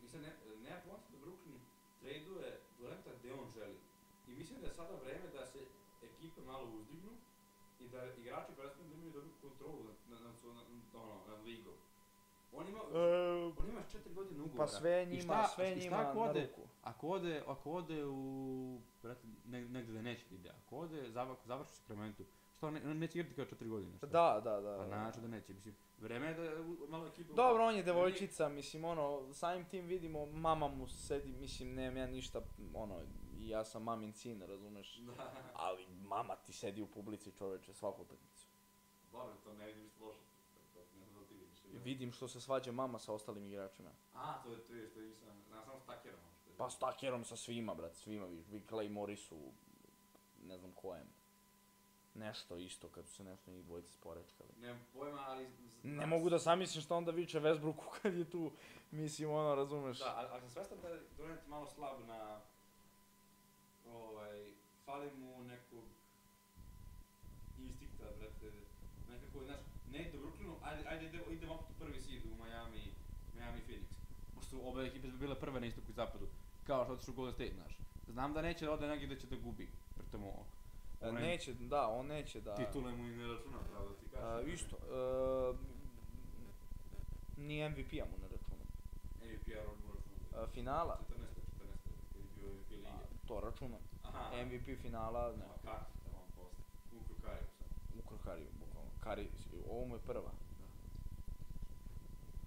A: I sad ne, nema poanta da Brooklyn traduje Duranta gde on želi. I mislim da je sada vreme da se ekipe malo uzdignu i da igrači prestanu da imaju dobru kontrolu nad, nad, nad, nad, nad, ono, nad ligom. On ima, on ima četiri godine ugovora.
B: E, pa sve je
E: I
B: njima,
E: šta-
B: sve je
E: i šta
B: njima
E: ako
B: na
E: ode-
B: ruku.
E: Ako ode, ako ode u, brate, neg- negde da neće da ide, ako ode, zav, završi u Sakramentu, šta, on ne, on neće igrati kao četiri godine, šta?
B: Da, da, da.
E: Pa
B: da.
E: naravno da neće, mislim, vreme je da u- malo ekipa...
B: Dobro, on je devojčica, mislim, ono, samim tim vidimo, mama mu sedi, mislim, nemam ja ništa, ono, i ja sam mamin sin, razumeš?
A: Da,
F: Ali mama ti sedi u publici čoveče svaku utakmicu.
A: dobro, to ne vidim ništa loše. To- to Ne znam da li ti vidiš. ili ja.
B: Vidim što se svađa mama sa ostalim igračima.
A: A, to je to je što nisam, znam samo stakerom. ono
F: Pa s takerom sa svima, brat, svima, viš, vi Clay Morrisu, ne znam kojem. Nešto isto, kad su se nešto njih dvojice sporečkali.
A: Nemam pojma, ali...
F: Ne mogu da zamislim šta onda viče Westbrooku kad je tu, mislim, ono, razumeš.
A: Da, ali, ali sam svestan da je Durant malo slab na... Ovaj, fali mu nekog instinkta, brate. Nekako, znaš, ne ide u Brooklynu, ajde, ajde ide, idemo opet u prvi seed u Miami, Miami Phoenix.
E: Pošto obe ekipe su bile prve na istoku i zapadu, kao što otišu u Golden State, znaš. Znam da neće da ode negdje da će da gubi, pritom ovo.
B: E,
G: Onaj-
B: Neće, da, on neće da...
A: Titule mu i ne računa, pravo da ti
B: A,
A: kažem.
B: isto, e, ni MVP-a mu ne računam.
A: MVP-a Rod Moore
B: E, finala,
A: 14 14 kad je bio MVP lige.
B: a, to računam.
A: Aha,
B: MVP finala, ne,
A: a kako tamo posle? U Krukariju samo.
B: ukro Kariju, bukvalno. Kari, ovo mu je prva.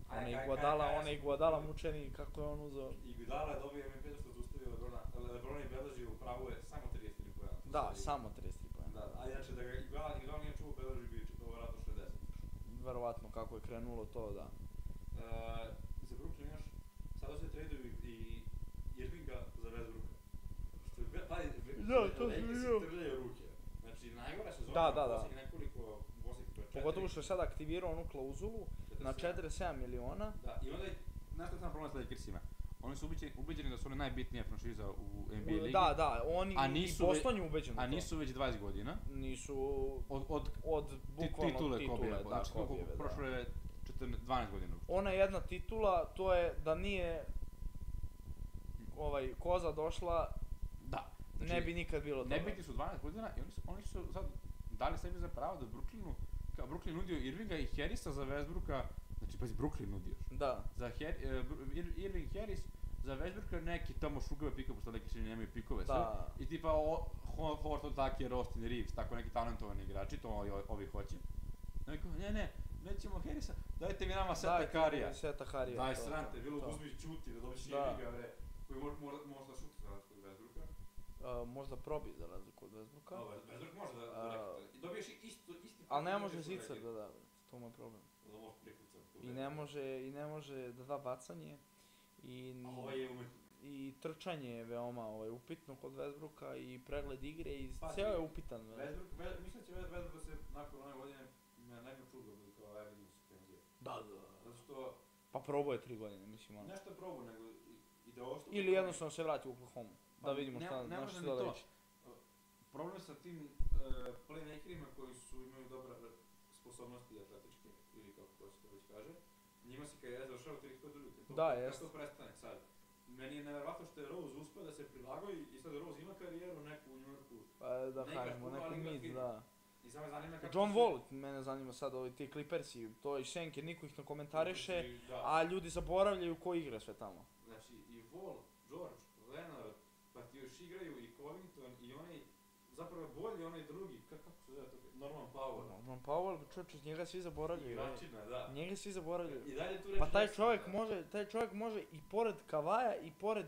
A: Aj,
B: Ona
A: kaj-
B: je
A: kaj-
B: Guadala,
A: kaj-
B: ona je Guadala mučeni, kako je on uzeo.
A: I Gudala je dobio MVP zato što je zaustavio Lebrona, ali Lebron je beležio u pravu je samo 33 pojena.
B: Da, samo 33 poena.
A: Znači, Da, a inače da ga i Gudala, i Gudala nije čuo beleži bi čitao vratno E, 60.
B: Verovatno kako je krenulo to, da.
A: Uh, za Brooklyn još, sada se traduju i, i Irvinga za Westbrooka. Što je, ve- pazi, ve-
B: Da, to sam
A: Lakers
B: vidio.
A: se trljaju ruke. Znači, najgora sezona
B: Da, da, da.
A: u posljednjih nekoliko, u posljednjih četiri-
B: Pogotovo što je sad aktivirao onu klauzulu na
A: 47.
B: 47 miliona.
A: Da, i onda je
G: Znaš šta sam problem sa Lakersima? Oni su ubeđeni, ubeđeni da su oni najbitnija franšiza u NBA ligi,
B: Da, da, oni
G: A
B: i
G: nisu ve-
B: Boston je ubeđen u
G: a
B: to.
G: nisu već 20 godina.
B: Nisu
G: Od, od ti-
B: od bukvalno
G: titule,
B: titule,
G: Kobijeva.
B: da,
G: Znači, koliko,
B: Kobijeve, da.
G: prošlo je 14, 12 godina.
B: Ona jedna titula, to je da nije ovaj koza došla,
G: Da. Znači,
B: ne bi nikad bilo toga.
G: Nebitni su 12 godina i oni su, oni su sad dali sebi za pravo da Brooklynu, kao Brooklyn nudio Irvinga i Harrisa za Westbrooka, znači pazi Brooklyn nudio.
B: Da,
G: Za Her, e, Br- Ir, Irving Harris, za Westbrooka neki tamo šugave pikove, pošto Lakersi nemaju pikove sve.
B: da.
G: I tipa o, Ho, Horton Tucker, Austin Reeves, tako neki talentovani igrači, to ovi, ovi hoće. I oni kao, ne, ne, nećemo Harrisa, dajte mi nama Seta
B: Dajte
G: Karija.
B: mi Seta Karija.
A: Daj,
B: to,
A: sram te,
B: to,
A: bilo
B: to.
A: uzmi i čuti da dobiš
B: Da.
A: Irvinga, bre. Koji mo- mo- možda šuti za razliku od Westbrooka.
B: A, možda probi za razliku od Westbrooka.
A: Dobar, Westbrook može da- da
B: A-
A: rekta. I dobiješ i isto, isti...
B: Ali ne
A: profil
B: može
A: koji je
B: zicer da
A: rekao.
B: da, to mu je problem.
A: Da može prikucati.
B: I ne može, i ne može da da bacanje. I, n-
A: A ovo je umet.
B: I trčanje je veoma ovaj, upitno kod Westbrooka i pregled igre i
A: Pa,
B: ceo je
A: ti-
B: upitan.
A: Westbrook, Ve- mislim da će Westbrook da se nakon ove godine na nekom čudu bude kao ovaj vidim se penzije.
B: Da, da.
A: Zato što
B: Pa probao je tri godine, mislim ono.
A: nešto je probao, nego i- ideološko...
B: Ili jednostavno se vrati u Oklahoma.
G: Pa
B: da vidimo
G: ne-
B: šta,
G: ne
B: na
G: može
B: šta
G: ni
B: da
G: to.
B: liči.
A: E, Problem sa tim uh, playmakerima koji su imaju dobre sposobnosti atletičke, ili kako to se to već kaže, njima se karijera završava u 32. To,
B: Da,
A: jest.
B: jest.
A: Kako prestane sad? Meni je nevjerovatno što je Rose uspio da se prilagodi i sad Rose ima karijeru neku u Njujorku.
B: Pa, da
A: Ne
B: kažemo,
A: igraš puno,
B: neki
A: ali igraš
B: mid,
A: fino.
B: da.
A: I samo me zanima kako...
B: John
A: će-
B: Wall, mene zanima sad, ovi ti Clippersi, to i Schenker, niko ih ne komentareše,
A: Znači, Da.
B: a ljudi zaboravljaju ko igra sve tamo.
A: Znači, i Wall, George, Leonard, pa ti još igraju i Covington i onaj, zapravo je bolji onaj drugi, ka- kako se zove to, Norman Powell.
B: Norman Powell, čovječe, njega svi zaboravljaju. ej.
A: Igračina, da.
B: Njega svi zaboravljaju.
A: I dalje tu
B: Pa taj
A: Jackson,
B: čovjek
A: da.
B: može, taj čovjek može i pored Kavaja i pored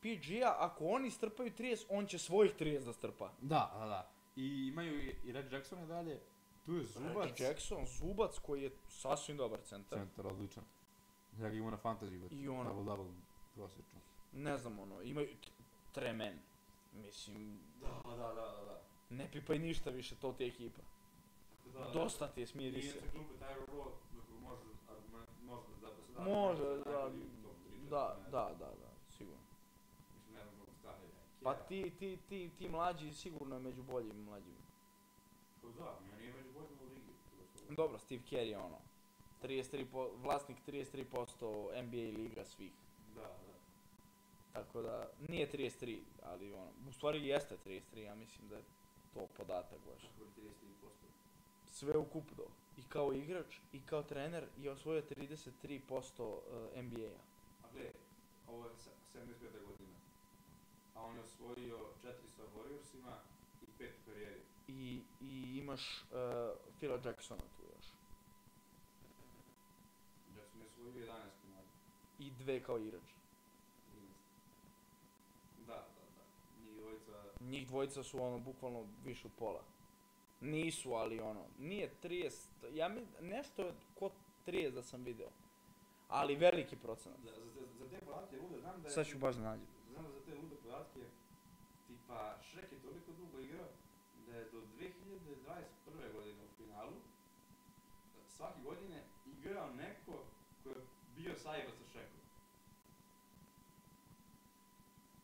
B: PG-a, ako oni strpaju 30, on će svojih 30 da strpa.
G: Da, da, da. I imaju i, i Red Jacksona dalje, tu je Zubac.
B: Reggie Jackson, Zubac koji je sasvim dobar centar.
G: Centar, odličan. Ja ga imam na fantasy, već.
B: I ono.
G: Double, double, prosječno.
B: Ne znam ono, imaju t- tremen. Mislim,
A: Da, da, da, da, da.
B: ne pipaj ništa više to ti je ekipa.
A: Da, da.
B: Dosta ti je
A: I
B: smiri se.
A: inače klubu taj Wall, ako može argument, može da da se da.
B: Može,
A: najbolji u
B: da,
A: top tri, četiri,
B: da,
A: ne znam.
B: da, da, da, sigurno.
A: Mislim, ne znam koliko stane neki,
B: Pa
A: ja.
B: ti, ti, ti, ti mlađi sigurno je među boljim mlađim.
A: Pa da, meni je među boljima u ligi. to je to.
B: Dobro, Steve Kerr je ono, 33 po, vlasnik 33% NBA liga svih.
A: Da, da.
B: Tako da, nije 33, ali ono, u stvari jeste 33, ja mislim da je to podatak baš.
A: Kako je 33%.
B: Sve ukupno, i kao igrač, i kao trener, je osvojio 33% eh, NBA-a.
A: A gle, ovo je se- 75. godina. A on je osvojio četiri sa Warriorsima i pet u karijeri.
B: I, i imaš eh, Phila Jacksona tu još.
A: Jackson Znači, je osvojio 11 komada.
B: I dve kao igrač.
A: 13. Da, da, da. Njih dvojica...
B: Njih dvojica su ono, bukvalno više od pola. Nisu, ali ono, nije 30, ja mi, nešto je ko 30 da sam video. Ali veliki procenat.
A: Za, za, te- za te podatke je ludo, znam da je...
B: Sad ću baš da nađem.
A: Znam da za te lude podatke, tipa Shrek je toliko dugo igrao da je do 2021. godine u finalu svake godine igrao neko ko je bio sajeva sa Shrekom.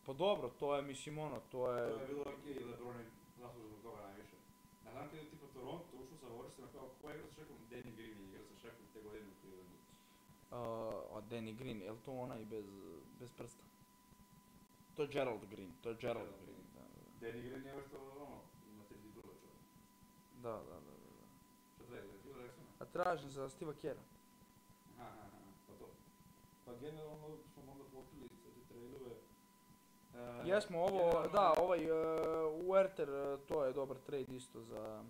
B: Pa dobro, to je, mislim, ono, to je...
A: To je bilo okej, Lebron je zaslužio zbog toga najviše. A znam kad je tipa Toronto ušao sa Warriorsima kao ko je igrao sa Šekom? Danny Green je igrao sa Šekom te godine u Clevelandu.
B: Uh, a Danny Green, je li to onaj bez, bez prsta? To je Gerald Green, to je Gerald
A: Gerald
B: Green. Da, da.
A: Danny Green je vrstao ono, ima tri titule.
B: Da, da, da. da.
A: Šta treba, Gil Rexona?
B: A tražim za Stiva Kera.
A: Aha, aha, aha, pa to. Pa generalno smo onda pokrili sve te tradeove. E,
B: Jesmo ovo,
A: generalno-
B: da, ovaj uh, Werther, e, to je dobar trade isto za,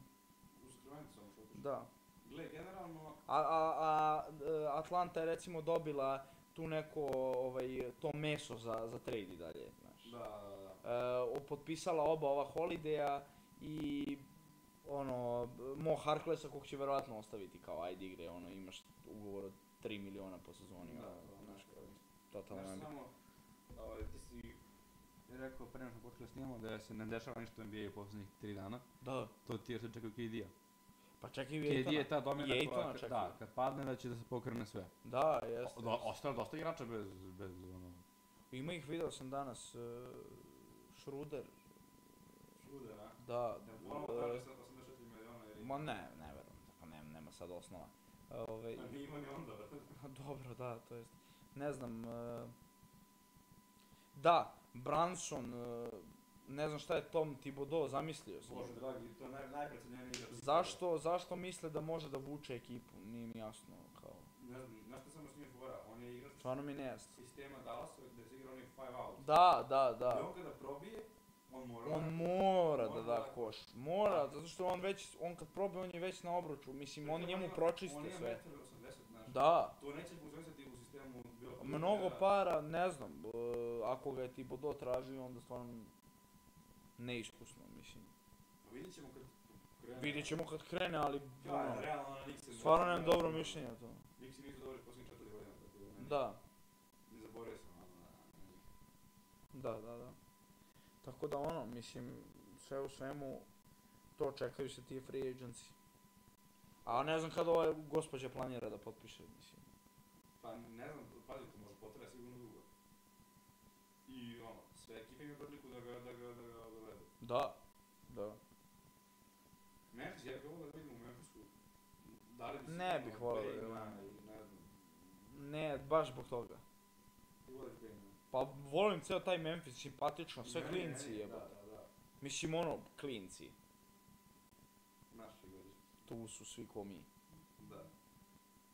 A: U Skrojnicu sam što otišao.
B: da.
A: Gle, generalno,
B: A, a, a e, Atlanta je recimo dobila tu neko, ovaj, to meso za, za trade i dalje, znaš.
A: da, da, da.
B: E, o- potpisala oba ova Holideja i ono, Mo Harklesa kog će verovatno ostaviti kao ajde igre, ono, imaš ugovor od 3 miliona po sezoni,
A: Da,
B: ono,
A: da,
B: znaš,
A: da.
B: kao, totalno
H: Znaš,
B: nebi-
H: samo, ovaj, ti si rekao pre nego što smo počeli da snimamo da se ne dešava ništa u NBA u poslednjih tri dana.
B: Da,
H: To ti je što čekao KD-a.
B: pa čekaj
H: KD
B: Vjetana.
H: je ta domina
B: Jaytona
H: koja,
B: čak
H: da,
B: i.
H: kad padne da će da se pokrene sve.
B: Da,
H: O,
B: jeste.
H: da, ostalo je dosta igrača bez, bez ono...
B: Ima ih, video sam danas, e, Schroeder,
A: Šuder, a?
B: da,
A: Da, ponovo
B: e,
A: traži sad 84 miliona jer...
B: ma ne, ne verujem, pa nema, nema sad osnova. Ove,
A: Pa nije imao ni onda, brate.
B: dobro, da, to jest, ne znam, e, da, Branson, e, ne znam šta je Tom Thibodeau zamislio s njim.
A: Bože dragi, to je naj, najprecenjeniji igrač.
B: Zašto, zašto misle da može da vuče ekipu? Nije mi jasno, kao,
A: Ne znam, znaš što sam s njim fora? On je igrač
B: stvarno mi ne jasno.
A: sistema Dallasa gde se igra onih 5 out.
B: Da, da,
A: I
B: da.
A: on kada probije, on mora...
B: On mora da
A: Mora
B: da
A: da-
B: koš. Mora, zato što on već, on kad probe, on je već na obruču. Mislim, on njemu pročiste
A: On je
B: sve.
A: 1,80 znaš.
B: Da.
A: To neće funkcionisati u sistemu bilo kog
B: Mnogo
A: trenera.
B: pa- para, ne znam, e, ako ga je Tibodo tražio, onda stvarno neiskusno, mislim.
A: Pa Vidjet ćemo kad krene.
B: Vidjet ćemo kad krene, ali
A: Ja,
B: ono,
A: realno na Nixon.
B: stvarno nemam dobro mišljenje o tome.
A: Nixon nisu dobri posljednjih četiri godina. tako ne-
B: Da.
A: Ne zaboravio sam, ali na- na njih.
B: Da, da, da. Tako da ono, mislim, sve u svemu, to čekaju se ti free agency. A ne znam kada ova gospođa planira da potpiše, mislim.
A: Pa ne znam, pazi, to može potraje sigurno dugo. I ono, sve ekipe imaju priliku da ga, da ga, da ga dovedu.
B: Da. Da.
A: Memphis, ja bih volio da vidim u Memphisu. Da li bi se
B: Ne
A: ono,
B: bih volio da
A: Payne,
B: vidim.
A: ne- ne znam.
B: Ne, baš zbog toga.
A: Ti voliš Payne?
B: Pa volim ceo taj Memphis, simpatično, Pa sve
A: Meni-
B: klinci
A: meni-
B: jebo.
A: Da, da, da.
B: Mislim ono, klinci,
A: Naši godište.
B: tu su svi ko mi.
A: Da.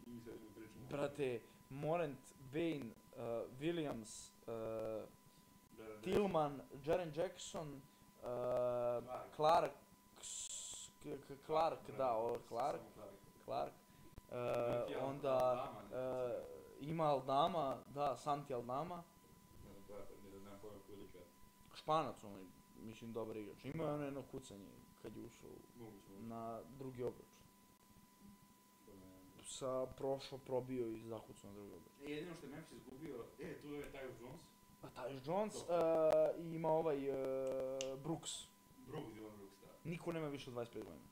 A: I sad ćemo pričamo.
B: Brate, Morant, Bane, uh, Williams, uh,
A: Jared Jackson.
B: Tillman, Jaren Jackson, uh,
A: Clark.
B: Clark, s- k- k- Clark, da, ovo je
A: Samo
B: Clark, Clark, e,
A: Neki Al-
B: onda
A: Aldama,
B: e,
A: ne znam.
B: ima Aldama, da, Santi Aldama,
A: Ne znam, brate, ne znam koja je prilika.
B: Španac, on je, mislim, dobar igrač. Ima ono jedno kucanje kad je ušao
A: Moguće, moguće.
B: na drugi obruč.
A: to ne-
B: Sa prošao, probio i zakucao na drugi obruč.
A: E, jedino što je Memphis izgubio, e, tu je taj Jones.
B: A Pa taj Jones
A: To.
B: e, i ima ovaj e, Brooks.
A: Brooks, Dylan Brooks, da.
B: Niko nema više od 25 godina.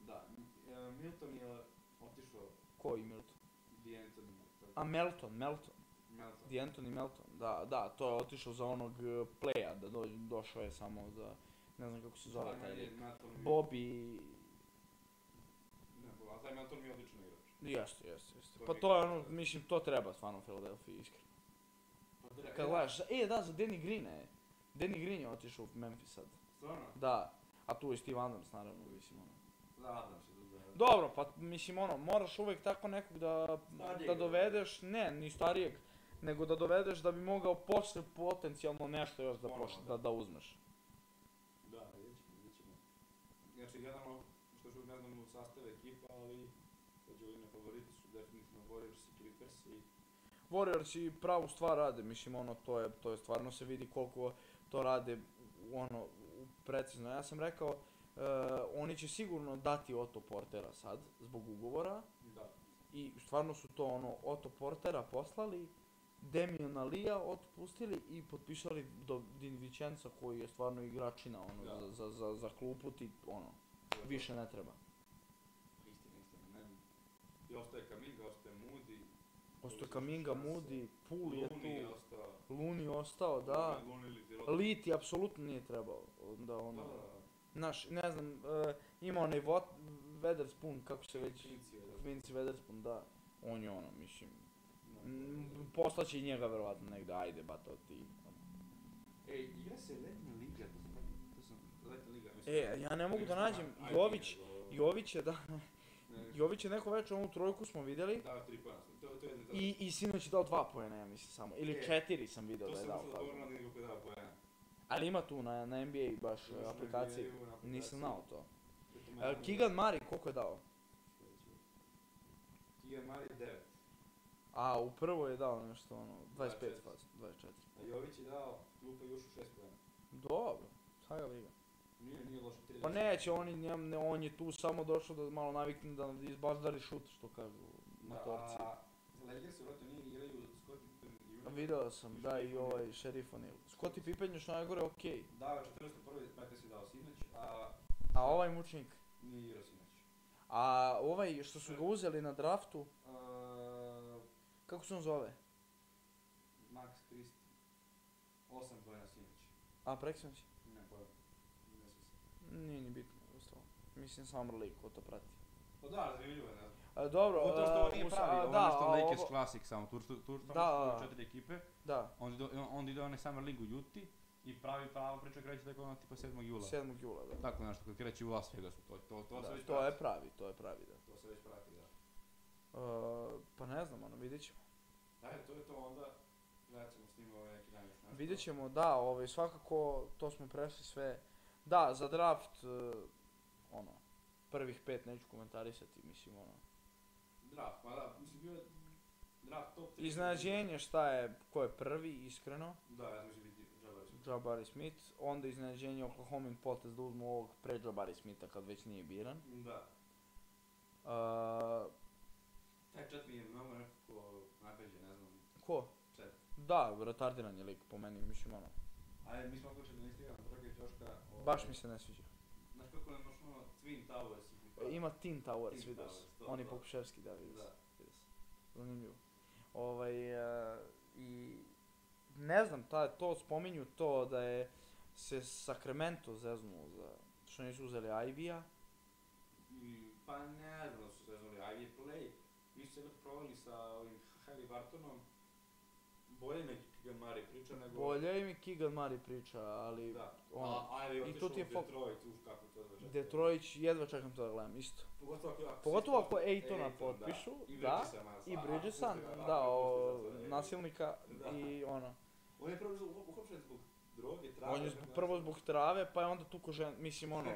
A: Da, M- e, Milton je otišao
B: Koji Milton?
A: D'Antoni.
B: A Melton, Melton.
A: Melton.
B: Di Anthony Melton, da, da, to je otišao za onog e, playa, da do, došao je samo za, ne znam kako se zove
A: Da,
B: taj
A: meni je
B: lik.
A: Melton bio-
B: Bobby,
A: Ne, pa, a taj Melton mi je odličan igrač.
B: Jeste, jeste, jeste.
A: To
B: Pa
A: mi je
B: to je
A: kao-
B: ono, mislim, to treba stvarno Filadelfiji, iskreno.
A: Pa dra-
B: Kad
A: e,
B: gledaš, za- e da, za Danny Greena je. Danny Green je otišao u Memphis sad.
A: Stvarno?
B: Da, a tu je Steve Adams, naravno, mislim, ono.
A: Da, Adams je dobro.
B: Dobro, pa mislim, ono, moraš uvek tako nekog da,
A: Starijeg.
B: da dovedeš, ne, ni starijeg, nego da dovedeš da bi mogao posle potencijalno nešto još da,
A: Ponovo,
B: poš-
A: Ono, da.
B: da, da uzmeš.
A: Da, vidjet ćemo, vidjet ćemo. Znači, gledamo, što ću ne znam u sastave ekipa, ali kad godine favoriti su definitivno Warriors i Clippers i
B: Warriors i pravu stvar rade, mislim ono to je, to je stvarno se vidi koliko to rade u- ono u- precizno. Ja sam rekao e, oni će sigurno dati Otto Portera sad zbog ugovora
A: da.
B: i stvarno su to ono Otto Portera poslali, Damiana Lija otpustili i potpisali do Din Vicenza koji je stvarno igračina ono
A: Da.
B: za, za, za, za klupu ti ono
A: to je
B: više ne treba.
A: to. Istina, istina, ne znam. I ostaje Kaminga, ostaje Moody.
B: Postoje Kaminga, Moody, Pool je
A: Luni je
B: tu,
A: ostao.
B: Luni ostao, da.
A: Luni ili Zirota.
B: Liti apsolutno nije trebao, onda ono,
A: Da,
B: znaš, ne znam, e, ima onaj Vot, Weatherspoon, kako se već,
A: Finci je, da.
B: Vinci Weatherspoon, da, on je ono, mislim,
A: Da.
B: m, poslaće i njega verovatno negde, ajde, ba to ti.
A: Ej, igra se letnja liga, to sam, to sam, letnja liga, mislim.
B: E, ja ne mogu da
A: Mislim,
B: nađem,
A: ajde,
B: Jović,
A: nego-
B: Jović je, da,
A: Ne,
B: Jović je neko večer onu trojku smo videli
A: dao je tri poena. To, to je to.
B: i, i sinoć je dao dva pojena, ja mislim samo. Ili
A: E,
B: četiri sam video
A: to
B: da je
A: sam
B: dao.
A: mislio da
B: tako.
A: dobro radi nego koji je dao poena.
B: Ali ima tu na, na NBA baš e,
A: Još na
B: aplikaciji.
A: NBA-u, na aplikaciji.
B: Nisam znao to.
A: To je to
B: E,
A: manje-
B: Kigan Mari koliko je dao?
A: Kigan Mari je devet.
B: A u prvo je dao nešto ono, 25
A: 24.
B: faz, 24.
A: A Jović je dao Luka Jušu šest poena.
B: Dobro, Saga Liga.
A: Nije, nije loše. tri
B: Pa
A: razlike.
B: neće, on je, njem- ne, on je tu samo došao da malo navikne da izbazdari šut, što kažu motorci.
A: Da, a Lakers su vratno nije igraju Scott Pippen i Jurek.
B: Video sam, da, i ovaj šerif O'Neal. Scottie Pippen još najgore okej,
A: Dao je 14. prvi, si dao sinoć, a
B: a ovaj mučnik,
A: nije igrao sinoć.
B: a ovaj što su ga uzeli na draftu,
A: Uh,
B: kako se on zove?
A: Max Christ, 8 pojena sinoć.
B: A, preksinoć?
A: Ne pojena. Ne sjećam se.
B: Nije ni bitno, ostalo. Mislim Summer League, ko to prati.
A: Pa da, zanimljivo je, ne znam.
B: A, dobro,
I: Zato što
B: a,
I: ovo nije
B: us-
I: pravi,
B: a,
I: ovo
B: da,
I: je nešto
B: a
I: Lakers
B: ovo-
I: Classic samo, tu što tu
B: Da,
I: tamo
B: da.
I: su četiri ekipe,
B: Da,
I: onda ide, onda ide onaj Summer League u Juti i pravi prava priča kreće tako ono tipa 7. jula.
B: 7. jula, da.
I: Tako nešto, kad kreće u Las Vegasu, to, to, to
B: Da,
I: se već
B: to
I: prati.
B: je pravi, to je pravi, da.
A: To se već prati, da.
B: Uh, pa ne znam, ono, vidjet ćemo.
A: Da, to je to onda. Gledat ćemo snimati ovaj neki dan još nešto.
B: Vidjet ćemo, da, ovaj, svakako, to smo prešli sve. Da, za draft, eh, ono, prvih pet neću komentarisati, mislim, ono.
A: Draft, pa da, mislim bio je draft top 3.
B: Iznenađenje šta je, ko je prvi, iskreno,
A: Da, ja mislim biti Jabari Smith.
B: Jabari Smith. Onda iznenađenje Oklahomin potez da uzmu ovog pre Jabari Smitha kad već nije biran.
A: Da.
B: Eh,
A: Taj čet mi je mnogo nekako napeđe, ne znam.
B: ko?
A: Čet.
B: Da, retardiran je lik po meni, mislim, ono.
A: Ali mi smo počeli da ne stigamo Dragić Joška. ovaj,
B: Baš mi se ne sviđa.
A: Znaš kako nam još ono Twin Towers i
B: E, Ima Teen Towers,
A: Teen
B: vidio
A: Towers,
B: sam.
A: to,
B: On je
A: to.
B: pokuševski, da, vidio sam.
A: Da.
B: vidio sam. Zanimljivo. Ovaj, e, i ne znam, ta, to spominju to da je se Sacramento zeznuo za što nisu uzeli Ivy-a.
A: I, pa ne znam da su se zvali Ivy Play. Mi su se već provali sa ovim Harry Bartonom. Bolje mi Kigan Mari priča nego...
B: Bolje im je Keegan Murray priča, ali
A: Da.
B: ono,
A: A, Ivy
B: i
A: otišao
B: tu ti je
A: u
B: fok-
A: Detroit, uf, kako to zove.
B: Detroit jedva čekam to da gledam isto.
A: Pogotovo ako... ako
B: Pogotovo
A: se-
B: ako Aytona
A: Ayton,
B: potpišu,
A: I
B: da,
A: Bridgesa, ma,
B: I
A: a,
B: Bridgesan,
A: pustio ga,
B: da,
A: a,
B: o,
A: pustio ga, da,
B: nasilnika
A: Da.
B: i ono.
A: On je prvo zbog- uhapšen zbog droge, trave.
B: On je
A: ne
B: zbog-
A: znam
B: prvo
A: šta.
B: zbog trave, pa je onda tuko žen, mislim ono,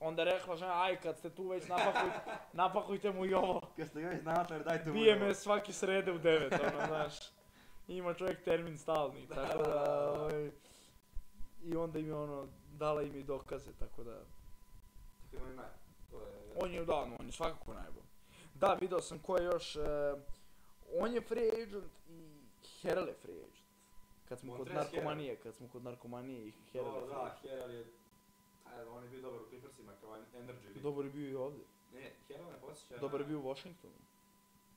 B: onda je rekla žena, aj kad ste tu već napakujte, napakujte mu i ovo.
I: Kad ste ga već natar, dajte mu
B: Bije
I: ovo.
B: me svake srede u 9, ono, znaš. Ima čovjek termin stalni, tako da, ovaj, i onda im je ono, dala im i dokaze, tako da,
A: Tako da on je naj- to je-
B: on je, da, ono, on je svakako najbolji. Da, video sam ko je još, eh, on je free agent i Herle free agent. Kad smo kod
A: Montrez
B: narkomanije, kad smo kod narkomanije i Herle
A: Dobro,
B: free agent.
A: da, Herald je... a, on je bio dobar u Clippersima kao en- Energy League.
B: Dobar je bio i ovdje.
A: Ne, Herald me posjeća
B: Dobar je
A: na-
B: bio u Washingtonu.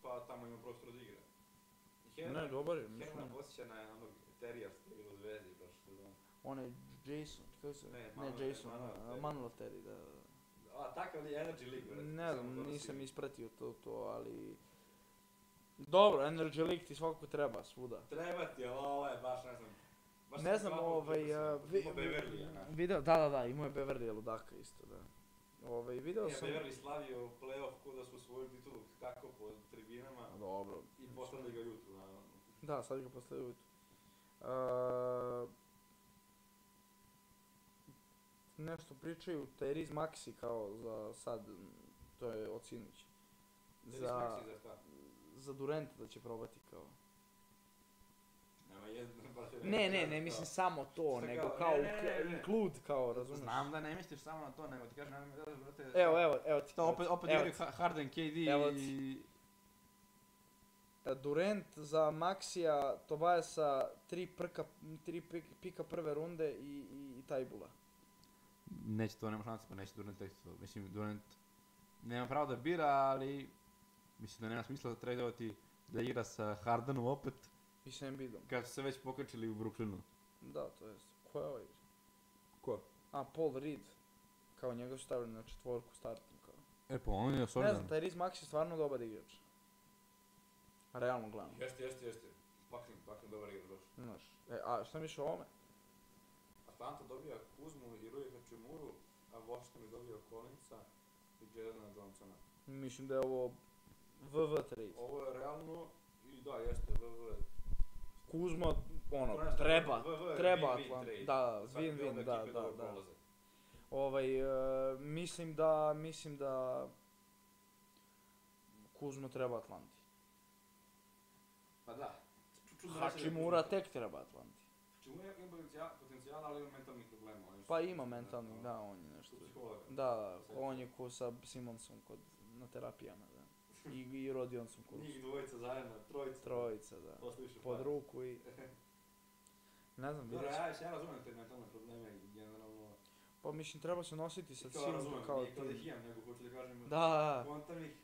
A: Pa tamo ima prostor da igra. Herald-
B: Ne, dobar je,
A: Herald
B: mislim.
A: me posjeća na onog Terrier što je bio u Zvezdi prošle sezone.
B: Onaj Jason, kako se...
A: Ne,
B: Ne,
A: Manuel-
B: Jason,
A: Manuel Terry.
B: Manuel Terry, da. da.
A: A, takav je Energy League, brate,
B: Ne
A: samo
B: znam,
A: donosi-
B: nisam ispratio to, to, ali... Dobro, Energy League ti svakako treba, svuda.
A: Treba ti, ali ovo je baš, ne znam... baš sam
B: Ne znam,
A: dva puta
B: ovaj...
A: Clippersima,
B: a, vi-
A: imao Beverlya, znaš.
B: Video, da, da, da, imao je Beverly ludaka isto, da. Ovaj, video
A: Ja
B: sam...
A: Beverly slavio u play-off ko da su osvojili titulu kako po tribinama
B: A, Dobro.
A: i postavili ga jutru, naravno.
B: Da, sad ga postavio ujutru. Uh, nešto pričaju Teriz Maxi kao za sad, m, to je od sinoć. Za,
A: Za... Za šta?
B: za Durenta da će probati kao.
A: Nema jedna, baš je
B: Ne, ne,
A: jedna,
B: ne
A: kao-
B: mislim samo to,
A: Šta
B: nego
A: kao,
B: kao
A: ne, ne, ne,
B: u-
A: ne.
B: include kao, razumiješ?
I: Znam da ne misliš samo na to, nego ti kažem, nemoj mi gledaš, brate.
B: Evo, evo, evo ti.
I: To opet, opet
B: evo
I: igraju
B: ti.
I: Ha- Harden, KD
B: Evo
I: i...
B: Durant za Maxija, Tobajasa, tri, prka, tri pik- pika prve runde i, i, i Tajbula.
I: Neće to, nema šanse, pa neće Durant tek to. Mislim, Durant nema pravo da bira, ali mislim da nema smisla da tradeovati da igra sa Hardenom opet,
B: I Sam Bidom.
I: kad su se već pokačili u Brooklynu.
B: Da, to jest. Ko je ovaj?
I: Ko?
B: A, Paul Reed. Kao njega su stavili na četvorku startnu. Kao.
I: E pa on je
B: Ne
I: solidan.
B: znam, taj Riz Max je stvarno dobar igrač. Realno gledano.
A: Jeste, jeste, jeste. Paklim, paklim, dobar igrač baš.
B: Znaš. E, a šta misliš o ovome?
A: Atlanta dobija Kuzmu i Rui Hačimuru, a Washington je dobio Collinsa i Jadona Johnsona.
B: Mislim da je ovo VV trade.
A: Ovo je realno, i da, jeste, VV.
B: Kuzma, ono,
A: To nešto-
B: treba,
A: VV je
B: treba
A: win-win
B: Atlant-
A: trade.
B: Da,
A: Svaki
B: win win,
A: od
B: da,
A: ekipe
B: da,
A: dobro
B: da.
A: prolaze.
B: Ovaj, e, mislim da, mislim da Kuzma treba Atlanti.
A: Pa da. Ču- čudno reći da je
B: Hakimura
A: Kuzma.
B: tek treba Atlanti.
A: Čemu je ima potencijal, potencijal, ali ima mentalnih problema. on je
B: Pa
A: što-
B: ima mentalnih, da, on je nešto.
A: Što psihologa.
B: Da, on je ko sa Simonsom kod, na terapijama, da. I, i Rodionsom kod
A: Njih dvojica zajedno, trojica.
B: trojica, da.
A: Poslušaj,
B: Pod
A: pa.
B: ruku i... Ne znam,
A: Dobro,
B: vidjet ću.
A: ja, ja razumem te mentalne probleme i generalno.
B: Pa mislim, treba se nositi sa
A: Kao
B: svim
A: razumem,
B: kao
A: nije kao da ih
B: tim.
A: imam, nego hoću da kažem,
B: Da, da.
A: kontam ih, e,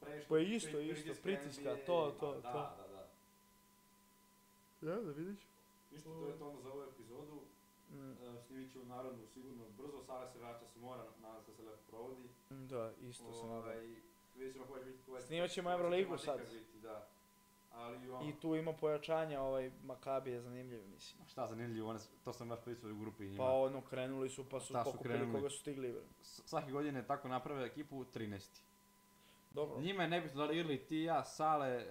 A: previše-
B: Pa isto,
A: pri-
B: isto,
A: pritiska
B: pritiska,
A: NBA,
B: to,
A: pa
B: to,
A: da,
B: to.
A: Da, da,
B: Ja, da vidiš.
A: Ništa, to je to ono za ovu epizodu. E, Snimit ću narodnu sigurno brzo, Sara se vraća se mora, nadam se da se lepo provodi.
B: Mm, Da, isto se nadam.
A: Ovaj, Vidjet ćemo koja će biti koja će-
B: Snimat ćemo
A: koja će
B: Euroligu
A: tematika
B: sad.
A: biti, da. Ali ono,
B: I tu ima pojačanja, ovaj Makabi je zanimljiv, mislim.
J: Šta zanimljivo, one, s- to sam baš pričao u grupi njima.
B: Pa ono, krenuli su, pa su
J: Šta su
B: pokupili
J: krenuli?
B: koga su stigli, bre.
J: S- Svake godine tako naprave ekipu 13.
B: Dobro.
J: Njima je nebitno da li Irli, ti, ja, Sale,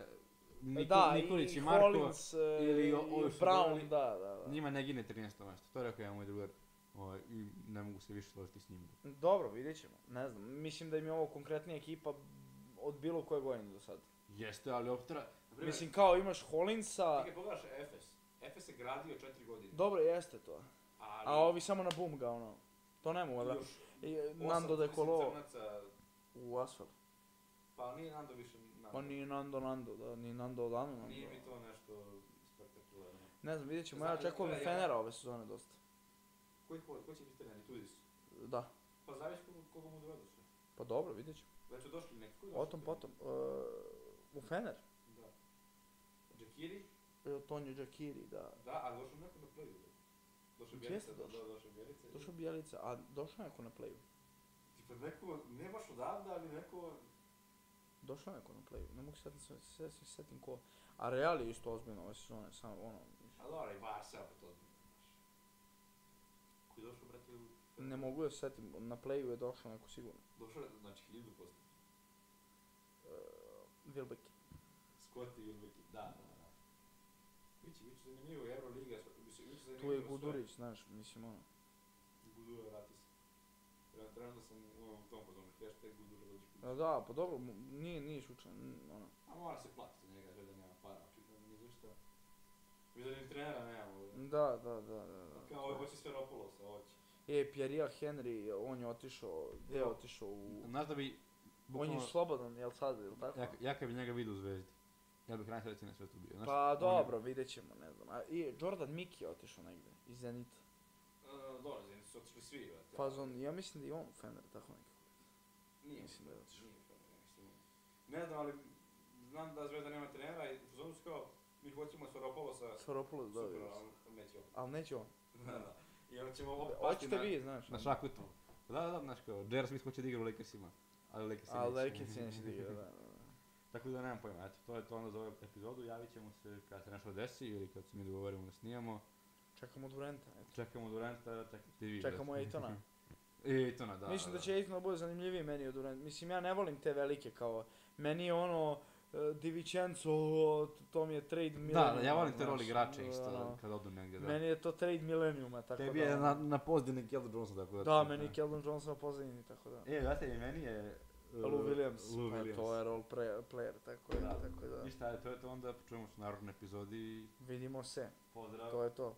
J: Nikol,
B: da,
J: Nikolić i,
B: i
J: Marko.
B: Collins, e,
J: ili
B: i
J: o- ovi su
B: Brown,
J: doveli.
B: da, da, da.
J: Njima ne gine 13. nešto. To je rekao jedan moj drugar. Ovaj, I ne mogu se više složiti s njim.
B: Dobro, vidjet ćemo. Ne znam, mislim da im je ovo konkretnija ekipa od bilo koje godine do sad.
J: Jeste, ali optera...
A: naprimjer,
B: Mislim, kao imaš Hollinsa,
A: ti kad pogledaš Efes, Efes je gradio četiri godine.
B: dobro jeste to.
A: ali
B: A ovi samo na bum ga, ono. To ne mogu,
A: još
B: da.
A: osam,
B: I, e, Nando de
A: mislim,
B: Colo
A: crnaca,
B: u asfalt.
A: Pa nije Nando više Nando.
B: Pa ni Nando Nando, da, ni Nando odavno Nando.
A: Nije mi to nešto spektakularno.
B: Ne znam, vidjet ćemo, ja
A: Znači,
B: očekujem
A: gledaj, ja-
B: Fenera ove sezone dosta.
A: Koji ko, ko će biti trener? Tudis?
B: Da,
A: Pa zavisi koga, koga mu dovedu sve.
B: pa dobro, vidjet ćemo.
A: Već su došli neki. Koji
B: Otom potom. E, u Fener.
A: Da. Džekiri?
B: E, Tonio Đakiri, da.
A: Da, ali došao neko na play. Došao
B: Jeste
A: Bjelica, da,
B: došao.
A: da, došao Bjelica.
B: Došao Bijelica, a došao je neko na playu.
A: Tipa neko, ne baš odavde, ali neko...
B: Došao je neko na playu, ne mogu se setim, se- se- se setim ko. A Real je isto ozbiljno ove sezone, samo ono,
A: A dobro, i Barca, pa to... Koji je došao, brate, u...
B: ne mogu da se setim, na playu je došao neko sigurno. e,
A: Došao je, znači, hiljadu posto.
B: Vilbek.
A: Scott i Ulbeki, da, da, da. Biće, biće zanimljivo, Euroliga, mislim, biće zanimljivo
B: Tu je
A: sve.
B: Gudurić, znaš, mislim ono.
A: Gudura vrati se. Ja trenutno sam u ovom tom pozornu, hashtag Gudura dođe kući.
B: A Da, pa dobro, mu- nije, nije slučajno, n- ono.
A: A mora se platiti za njega, jer da nema para, očigledno nije zašto. Mi da ni trenera nemamo. ovdje.
B: Da, da, da, da. da.
A: Kao ovo hoće sve ropolo se, ovo će.
B: E, Pierre Henry, on je otišao, gdje je otišao u...
J: Znaš da bi...
B: On je
J: bukvalno-
B: slobodan, jel sad, jel tako?
J: Ja, ja kad bi njega vidio u Zvezdi, ja bih najsrećniji na svetu bio. Znaš, on
B: Pa
J: je-
B: dobro, vidjet ćemo, ne znam. A, I Jordan Miki je otišao negdje, iz Zenita.
A: E, Dobro, znači su otišli svi, brate.
B: Fazon, ja mislim da i on Fener, tako nekako.
A: Nije,
B: mislim da je otišao.
A: nije, pa ne, mislim. Ne znam, ali znam da Zvezda nema trenera i u fazonu su kao, mi hoćemo Soropolosa,
B: Soropoulos
A: Pa, super,
B: dobio.
A: ali neće on.
B: Ali neće on.
A: Da, da. I onda ćemo ovo pasti
B: Hoćete
A: na-
B: vi, znaš. ono.
J: Na šaku to. Da, da, da, znaš kao, J.R. Smith hoće da igra u Lakersima, ali Lakers
B: Ali Lakers je neće da igra, da, da.
J: Tako da nemam pojma, eto, to je to onda za ovu epizodu, javit ćemo se kad se nešto desi ili kad se mi dogovorimo da snijamo.
B: Čekamo Durenta, eto.
J: Čekamo Duranta, čekajte i vi.
B: Čekamo
J: brate.
B: Ejtona.
J: I to na da.
B: Mislim da će Aiton da bude zanimljiviji meni od Durant. Mislim, ja ne volim te velike kao... Meni je ono... e, Di Vincenzo, to mi je trade
J: Da,
B: milenijuma.
J: da, ja volim te
B: znaš,
J: roli igrače
B: ono,
J: isto, kad odu negdje, da.
B: Meni je to trade milenijuma, tako
J: Tebi
B: da...
J: je
B: ono,
J: na, na pozdini Keldon Johnson, tako da.
B: Da, meni je Keldon Johnson na pozadini, tako da.
J: E, znate, i meni je... uh,
B: Lou Williams,
J: Lou
B: pa
J: Williams.
B: to je role player, player tako da, tako da.
J: Ništa, to je to onda, čujemo se u narodnoj epizodi.
B: Vidimo se,
J: Pozdrav.
B: to je to.